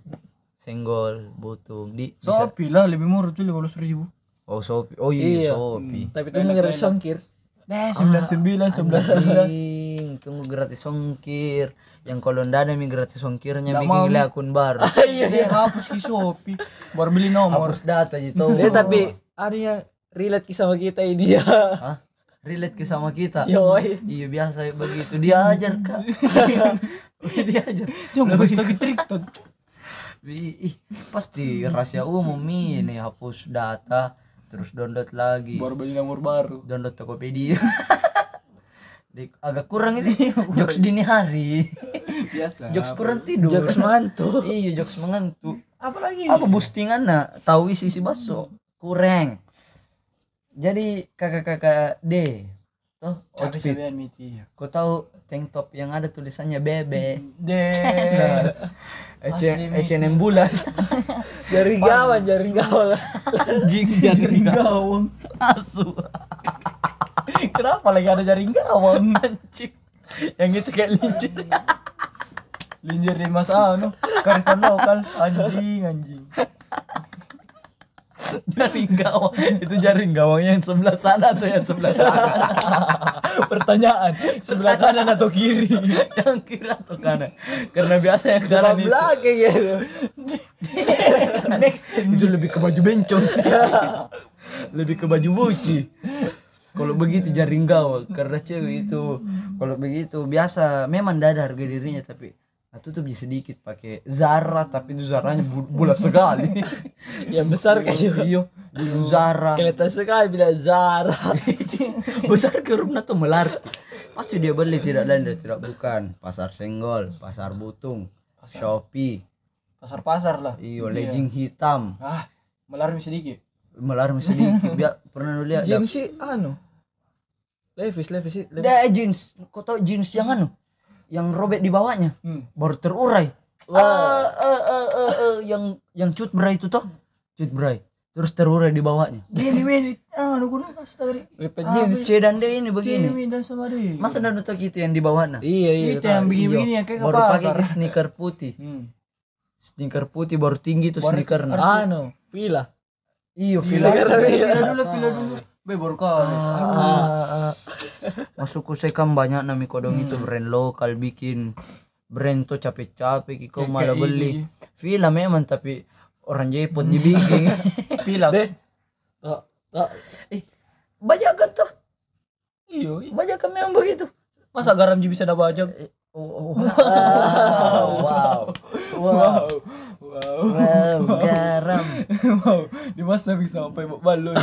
S1: senggol butung di bisa
S2: Shopee lah lebih murah tuh lima ribu
S1: oh shopee oh iya,
S2: Hmm.
S3: Iya.
S1: shopee
S3: tapi itu nggak bisa songkir
S1: Ah.
S2: Nah, sembilan sembilan sembilan sebelas
S1: Anjing, tunggu gratis ongkir yang kalau ndak ada mi gratis ongkirnya bikin
S2: mau,
S1: gila akun baru
S2: iya iya hapus ki Shopee baru beli nomor
S1: harus data gitu
S3: Dia Eh, tapi ada yang relate kisah sama kita ini ya
S1: Hah? relate ke sama kita
S3: Yoi.
S1: iya biasa begitu dia ajar kak dia ajar
S2: cuma gue kasih tau ki trik tuh
S1: Ih, ih, pasti rahasia umum Mi. ini hapus data terus download lagi
S2: baru beli nomor baru
S1: download Tokopedia Dik, agak kurang ini jokes dini hari
S2: biasa
S1: jokes kurang tidur
S3: jokes mantu
S1: iya jokes mengantuk
S2: apalagi
S1: apa boostingan nah tahu isi isi baso kurang jadi kakak-kakak D toh
S2: cabe
S1: outfit
S2: cabean miti
S1: kau tahu tank top yang ada tulisannya bebe
S2: deh
S1: H&M H&M bulat
S3: jari gawan jari gawan
S1: anjing jaring gawang asu
S2: kenapa lagi ada jaring gawang
S1: anjing yang itu kayak licin
S2: linjer di mas anu karifan lokal anjing anjing
S1: jaring gawang itu jaring gawangnya yang sebelah sana atau yang sebelah sana
S2: pertanyaan sebelah kanan atau kiri
S1: yang kiri atau kanan karena biasa yang kanan itu
S3: belakang gitu
S1: next itu lebih ke baju bencong sih lebih ke baju buci kalau begitu jaring gawang karena cewek itu kalau begitu biasa memang tidak ada harga dirinya tapi nah, tutup dia sedikit pakai Zara tapi itu Zaranya bu- bulat sekali
S3: yang besar kayak
S1: iyo dulu Zara
S3: kelihatan sekali kan, bila Zara
S1: besar ke rumah tuh melar pasti dia beli tidak lain dan tidak bukan pasar senggol pasar butung Shopee
S2: pasar pasar lah Iya.
S1: iyo legging hitam
S2: ah melarmi sedikit
S1: melar sedikit biar pernah lu lihat dah.
S3: Jim sih anu Levis Levis sih Levis.
S1: Dah eh, jeans, kau tahu jeans yang anu, yang robek di bawahnya,
S2: Hmm.
S1: baru terurai. Eh eh eh eh, eh, yang yang cut berai itu toh, cut berai, terus terurai di bawahnya.
S2: gini gini ah nunggu dulu pas tadi Iya,
S1: C dan D ini begini.
S2: dan sama deh
S1: Masa dan untuk itu yang di bawahnya?
S3: iya iya
S2: itu yang begini begini yang kayak ke
S1: Baru pakai
S2: pasar
S1: ke sneaker putih,
S2: Hmm.
S1: sneaker putih baru tinggi tuh Ah, iya, sneakernya.
S3: anu Villa
S1: Iyo, fila.
S2: Vila dulu, vila dulu. Be baru kali.
S1: Ah, Masuk saya kan banyak nami kodong itu brand lokal bikin brand tuh capek-capek ki, kau malah beli. Villa memang tapi orang Jepun dibikin.
S2: Vila.
S3: Tok, tok.
S1: eh, banyak kan tuh.
S2: Iyo.
S1: Banyak kan memang begitu.
S2: Iya, Masa garam ji bisa dah bajak?
S1: Oh, oh, Wow. Wow. Wow.
S2: Wow.
S1: Wow, garam.
S2: Wow. Di masa bisa sampai bawa balon.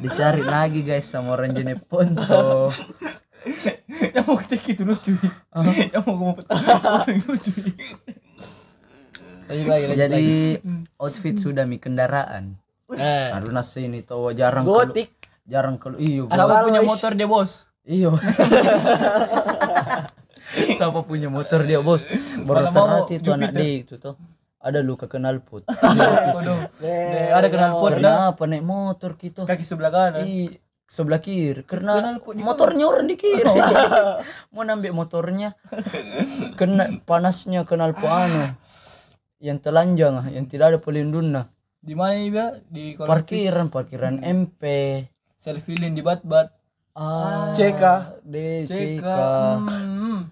S1: Dicari lagi guys sama orang Jepun tuh.
S2: yang mau ketik itu lucu. Yang mau ngomong petak itu lucu.
S3: Lagi lagi lagi.
S1: Jadi outfit sudah mi kendaraan.
S3: Eh,
S1: Karena sini tuh jarang kalau-
S3: gotik.
S1: jarang kalau iyo.
S2: Siapa
S3: Asal
S2: punya
S3: wis.
S2: motor dia bos?
S1: Iyo. Siapa punya motor dia bos? Baru
S2: Malah mau
S1: terhati itu anak dia itu tuh. Ada luka knalpot. Jadi,
S2: Deh, ada kenal pot dah.
S1: Kenapa naik motor kita?
S3: Kan-
S2: Kaki sebelah kanan.
S1: Di sebelah kiri karena motornya orang di kiri.
S3: Oh.
S1: Mau nambik motornya. Kena panasnya kenal anu. Yang telanjang, ah, yang tidak ada pelindungnya.
S2: Di mana ini Bia? Di kolong
S1: Parkiran, parkiran MP.
S2: selfie lane di bat-bat.
S1: A,
S3: CK.
S1: D,
S2: CK.
S1: CK.
S2: Hmm.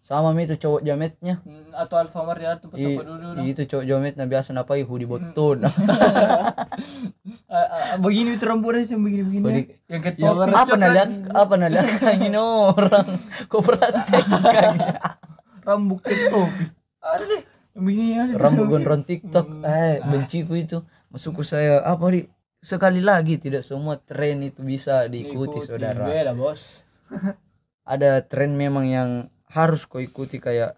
S1: Sama mi itu cowok jametnya.
S2: Hmm, Atau Alfamart
S1: I,
S2: ya tempat-tempat dulu.
S1: itu cowok jomet nah biasa napa ihu di botol
S2: Ah, ah, begini itu rambutnya yang begini-begini. Yang ke topi.
S1: apa nah lihat apa nah lihat kangen orang kok perhatikan
S2: rambut ke topi. Ada deh. Yang begini ada. tuh.
S1: rambut gondrong tiktok eh benci ku itu masukku saya apa di sekali lagi tidak semua tren itu bisa diikuti saudara
S2: Beda bos.
S1: ada tren memang yang harus kau ikuti kayak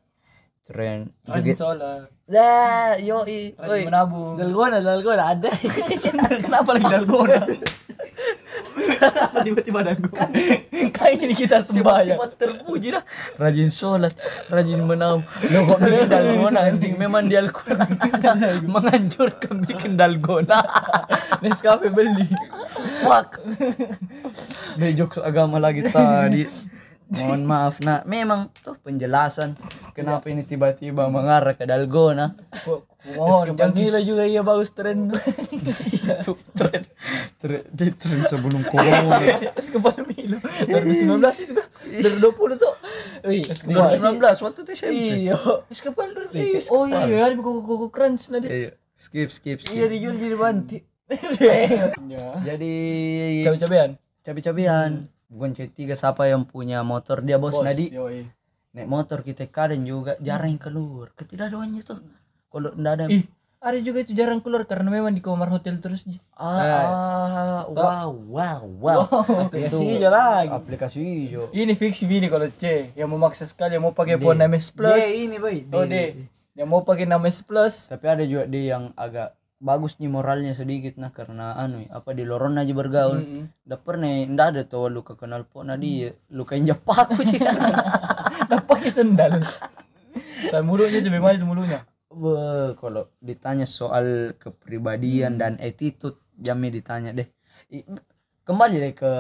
S1: tren
S2: Rajin sholat.
S1: dah yoi
S2: Rajin menabung.
S3: Dalgona, Dalgona ada.
S2: Kenapa lagi dalgona?
S1: Kenapa tiba-tiba nanggung?
S2: kayak ini kita sembahyang
S1: Sifat terpuji dah. Rajin sholat, rajin menam. Logo ini dalgona, anjing memang dia Al-Quran. Menganjurkan bikin dalgona.
S2: Nescafe beli
S1: Fuck. Dari jokes agama lagi tadi. Mohon maaf nak, memang tuh penjelasan kenapa ini tiba-tiba mengarah ke dalgona.
S2: Ku- ku mohon
S3: Yang
S2: jangan
S3: gila juga iya bagus tren.
S1: Itu tren, tren, dia tren sebelum corona.
S2: Es kepala Milo 2019 itu kan 2020 tuh
S3: Wih,
S1: 2019 waktu itu SMP.
S3: Iya.
S2: Es kepala 2019 Oh iya ada kuku-kuku crunch nanti
S1: Iya. Skip, skip, skip.
S3: Iya dijual jadi banti.
S1: Jadi
S2: Cabe-cabean
S1: cabi-cabian. Bukan C3 siapa yang punya motor dia bos, Nadi.
S2: iya.
S1: Naik motor kita kadang juga jarang keluar. Ketidakadaannya tuh. Kalau ndak ada
S2: Ih Ari juga itu jarang keluar karena memang di kamar hotel terus Ji.
S1: ah, ah, wow, wow, wow.
S3: Aplikasi aja lagi.
S1: Aplikasi hijau.
S2: Ini fix ini kalau C yang memaksa sekali yang mau pakai pon MS
S3: Dia
S2: Plus
S3: ini, Boy.
S2: Oh D yang mau pakai nama MS Plus
S1: Tapi ada juga dia yang agak bagus nih moralnya sedikit nah karena anu ya, apa di lorong aja bergaul. Ndak pernah ndak ada tuh luka kenal po nah dia luka yang aku sih.
S2: dan pakai sendal dan mulutnya lebih manis mulutnya
S1: Be, kalau ditanya soal kepribadian dan attitude jamin ditanya deh. I- Kembali deh ke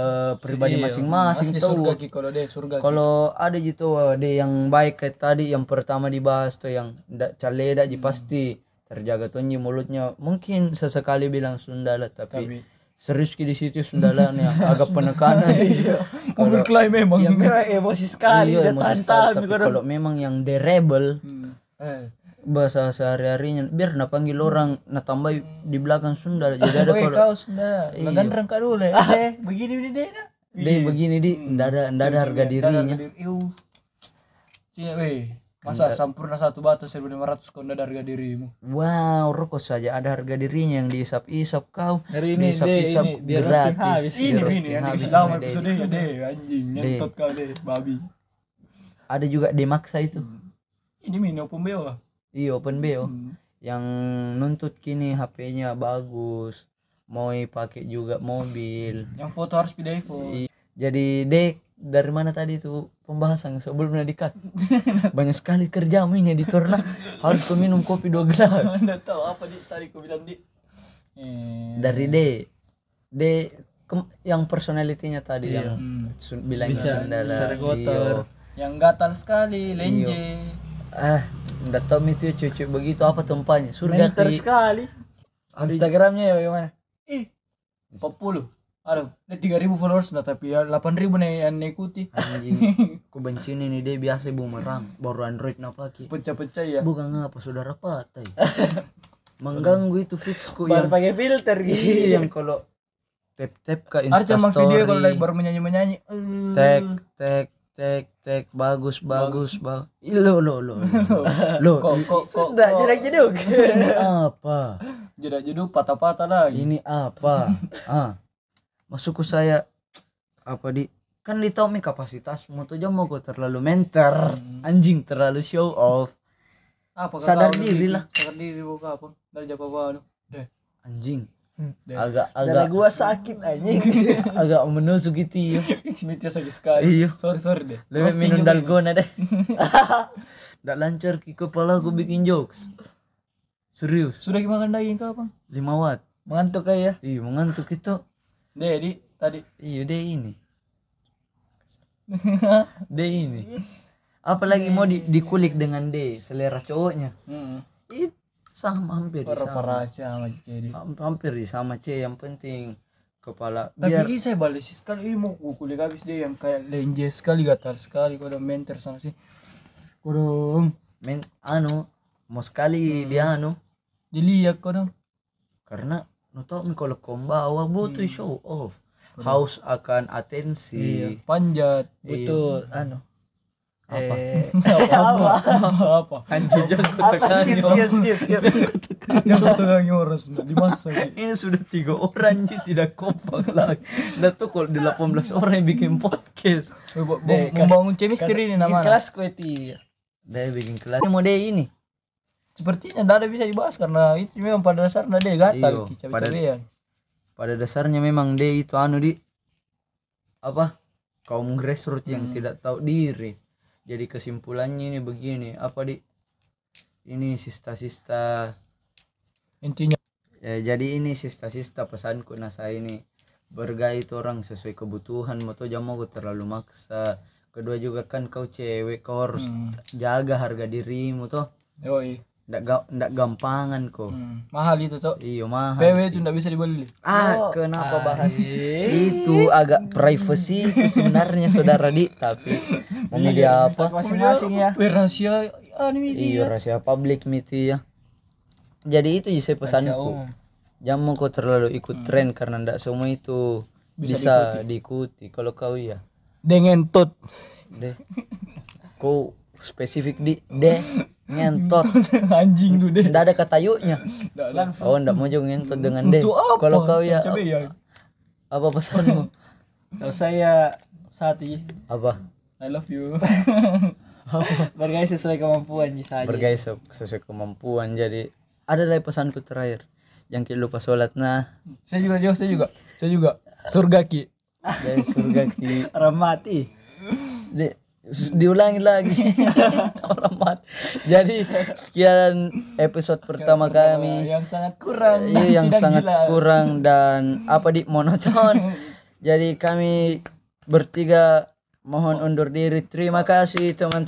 S1: pribadi
S3: Iya,
S1: masing-masing
S2: Asli
S1: tuh.
S2: surga ki kalau deh surga
S1: Kalau ada gitu wah, deh yang baik kayak tadi yang pertama dibahas tuh yang ndak caleda
S3: Hmm.
S1: ji pasti terjaga tuh nyi mulutnya mungkin sesekali bilang Sundala tapi, serius ki di situ Sundala nih agak penekanan.
S2: mau berkelahi memang
S3: Ya memang emosi Iya. sekali
S1: Iya,
S3: dia
S1: emosi sekali,
S3: tantang
S1: tapi
S3: gitu kan.
S1: kalau memang yang the rebel
S2: Eh.
S1: bahasa sehari-harinya biar na panggil orang na tambah di belakang Sunda jadi ada
S2: Weh
S1: kalau
S2: kau sudah, makan rangka dulu lah. Eh, begini begini deh dah.
S1: deh begini di
S2: Hmm,
S1: ndak ada ndak ada harga dirinya
S2: Iu. Cie, weh. Masa sampurna satu batu 1500 konda ada harga dirimu.
S1: wow rokok saja ada harga dirinya yang diisap-isap kau
S3: Dari ini,
S1: diisap-isap
S3: deh, ini, dia roasting
S1: gratis
S3: habis.
S1: Dia
S2: Ini
S1: roasting
S2: ini yang
S1: habis
S2: Islam
S1: sama
S2: episode
S1: Dedi.
S2: ya deh anjing nyentot kau deh babi.
S1: ada juga demaksa itu
S2: Hmm. Ini mino pembeo.
S1: iya open BO
S2: Hmm.
S1: yang nuntut kini HP-nya bagus mau pakai juga mobil
S2: Yang foto harus pindah iPhone.
S1: I- Jadi dek dari mana tadi tuh pembahasan sebelumnya dikat banyak sekali kerja ini editor nah harus kau minum kopi dua gelas
S2: Anda tahu apa di tadi kau bilang di. Eh,
S1: dari D D kem- yang personalitinya tadi yang sun- bilang sandala iyo.
S2: yang
S1: Iya.
S2: gatal sekali lenje.
S1: ah nggak tahu itu cucu begitu apa tempatnya surga
S3: Pinter
S1: ki
S3: sekali. Instagramnya ya bagaimana?
S2: Ih, 40. Aduh, ada 3000 followers nah tapi ya 8000 nih yang ikuti.
S1: anjing ku benci ini dia biasa bumerang baru android napa ki
S2: Pecah-pecah ya.
S1: bukan apa saudara patai mengganggu itu fixku yang
S3: Baru pakai filter gitu.
S1: Iya yang kalau tap tap ke
S2: Ada
S1: Insta
S2: cuma video kalau like
S1: story.
S2: baru menyanyi-menyanyi. Eh,
S1: Tag tag tag tag bagus bagus bagus. Ih, Lo lo lo. Lo Lo,
S2: Kok kok kok
S3: Enggak jelek jeduk.
S1: ini apa?
S2: jeda jedu patah-patah lagi.
S1: Ini apa? Ah. Masukku saya apa di kan di mi kapasitasmu tuh jangan mau kau terlalu mentor anjing terlalu show off
S2: Apa kata
S1: sadar
S2: orang
S1: diri
S2: ini?
S1: lah.
S2: Sadar diri buka apa? Dari japa baru. Deh.
S1: anjing agak
S3: Dari
S1: agak
S3: gua sakit anjing.
S1: agak menusuk gitu ya
S2: Fix meeting sakit sekali.
S1: Iya.
S2: Sorry sorry deh.
S1: Lebih minum dalgona deh. Nggak lancar ke kepala aku bikin jokes. Serius,
S2: Sudah makan daging kau apa?
S1: 5 watt.
S3: Mengantuk kayak.
S1: Iya, mengantuk itu.
S2: Deh, di tadi.
S1: Iya, deh ini. Deh ini. Apalagi mau di, dikulik dengan D, selera cowoknya.
S2: Heeh.
S1: It sama hampir di sama.
S2: Parah sama jadi.
S1: Ham- Hampir di sama C yang penting kepala
S2: Tapi
S1: biar
S2: ini saya balik sih sekali ini mau kulik habis dia yang kayak lenje sekali gatal sekali kau udah mentor sana sih. Kurung.
S1: men anu mau sekali dia anu
S2: Dilihat kau dong.
S1: karena no tau mi kalau kombawa butuh show off haus akan
S2: Iya.
S1: atensi
S2: Panjat.
S3: Butuh anu. Eh, Apa?
S2: apa apa apa
S1: anjing jangan ku tekan
S3: skip skip skip skip.
S2: yang terangnya orang sudah dimasak gitu.
S1: ini sudah tiga orang jadi tidak kompak lagi dan tuh kalau 18 orang yang bikin podcast
S2: Eh, bo- bo- membangun chemistry ini
S3: Di
S2: namanya
S3: kelas kue tiga.
S1: dia bikin kelas ini mode ini
S2: sepertinya tidak ada bisa dibahas karena itu memang pada dasarnya dia gatal
S1: Iyo,
S2: cabe-cabean
S1: pada dasarnya memang dia itu anu di apa kaum grassroots yang tidak tahu diri jadi kesimpulannya ini begini apa di ini sista-sista
S2: intinya
S1: Ya, jadi ini sista-sista pesanku nah saya ini bergaya itu orang sesuai kebutuhan mau tuh jangan mau terlalu maksa kedua juga kan kau cewek kau harus jaga harga dirimu tuh
S2: yoi
S1: ndak ga, ndak gampangan kok
S2: Hmm, mahal itu cok
S1: iyo mahal
S2: PW itu nggak bisa dibeli
S1: ah kenapa bahas itu agak privacy itu sebenarnya saudara di tapi mau media apa
S3: masing-masing ya
S2: Wih, rahasia anime
S1: iyo Iya, rahasia publik miti ya jadi itu sih pesanku
S2: umum.
S1: jangan mau kau terlalu ikut tren karena ndak semua itu Hmm. bisa, diikuti. kalau kau iya
S2: dengan tot
S1: deh kau spesifik di deh ngentot
S2: anjing lu deh
S1: ndak ada kata yuknya oh ndak mau juga ngentot dengan deh kalau kau ya
S2: Coba ya
S1: apa pesanmu
S3: kalau saya sati
S1: apa
S2: I love you
S3: bergaya sesuai kemampuan bisa aja
S1: bergaya se- sesuai kemampuan jadi ada lagi pesanku terakhir jangan ki lupa sholat nah
S2: saya juga Jo, saya juga saya juga surga ki
S1: dari surga ki
S3: orang mati
S1: Di- s- diulangi lagi orang mati jadi sekian episode pertama kami
S2: yang sangat kurang
S1: Iya yang sangat kurang dan apa di monoton. Jadi kami bertiga mohon undur diri. Terima kasih teman-teman.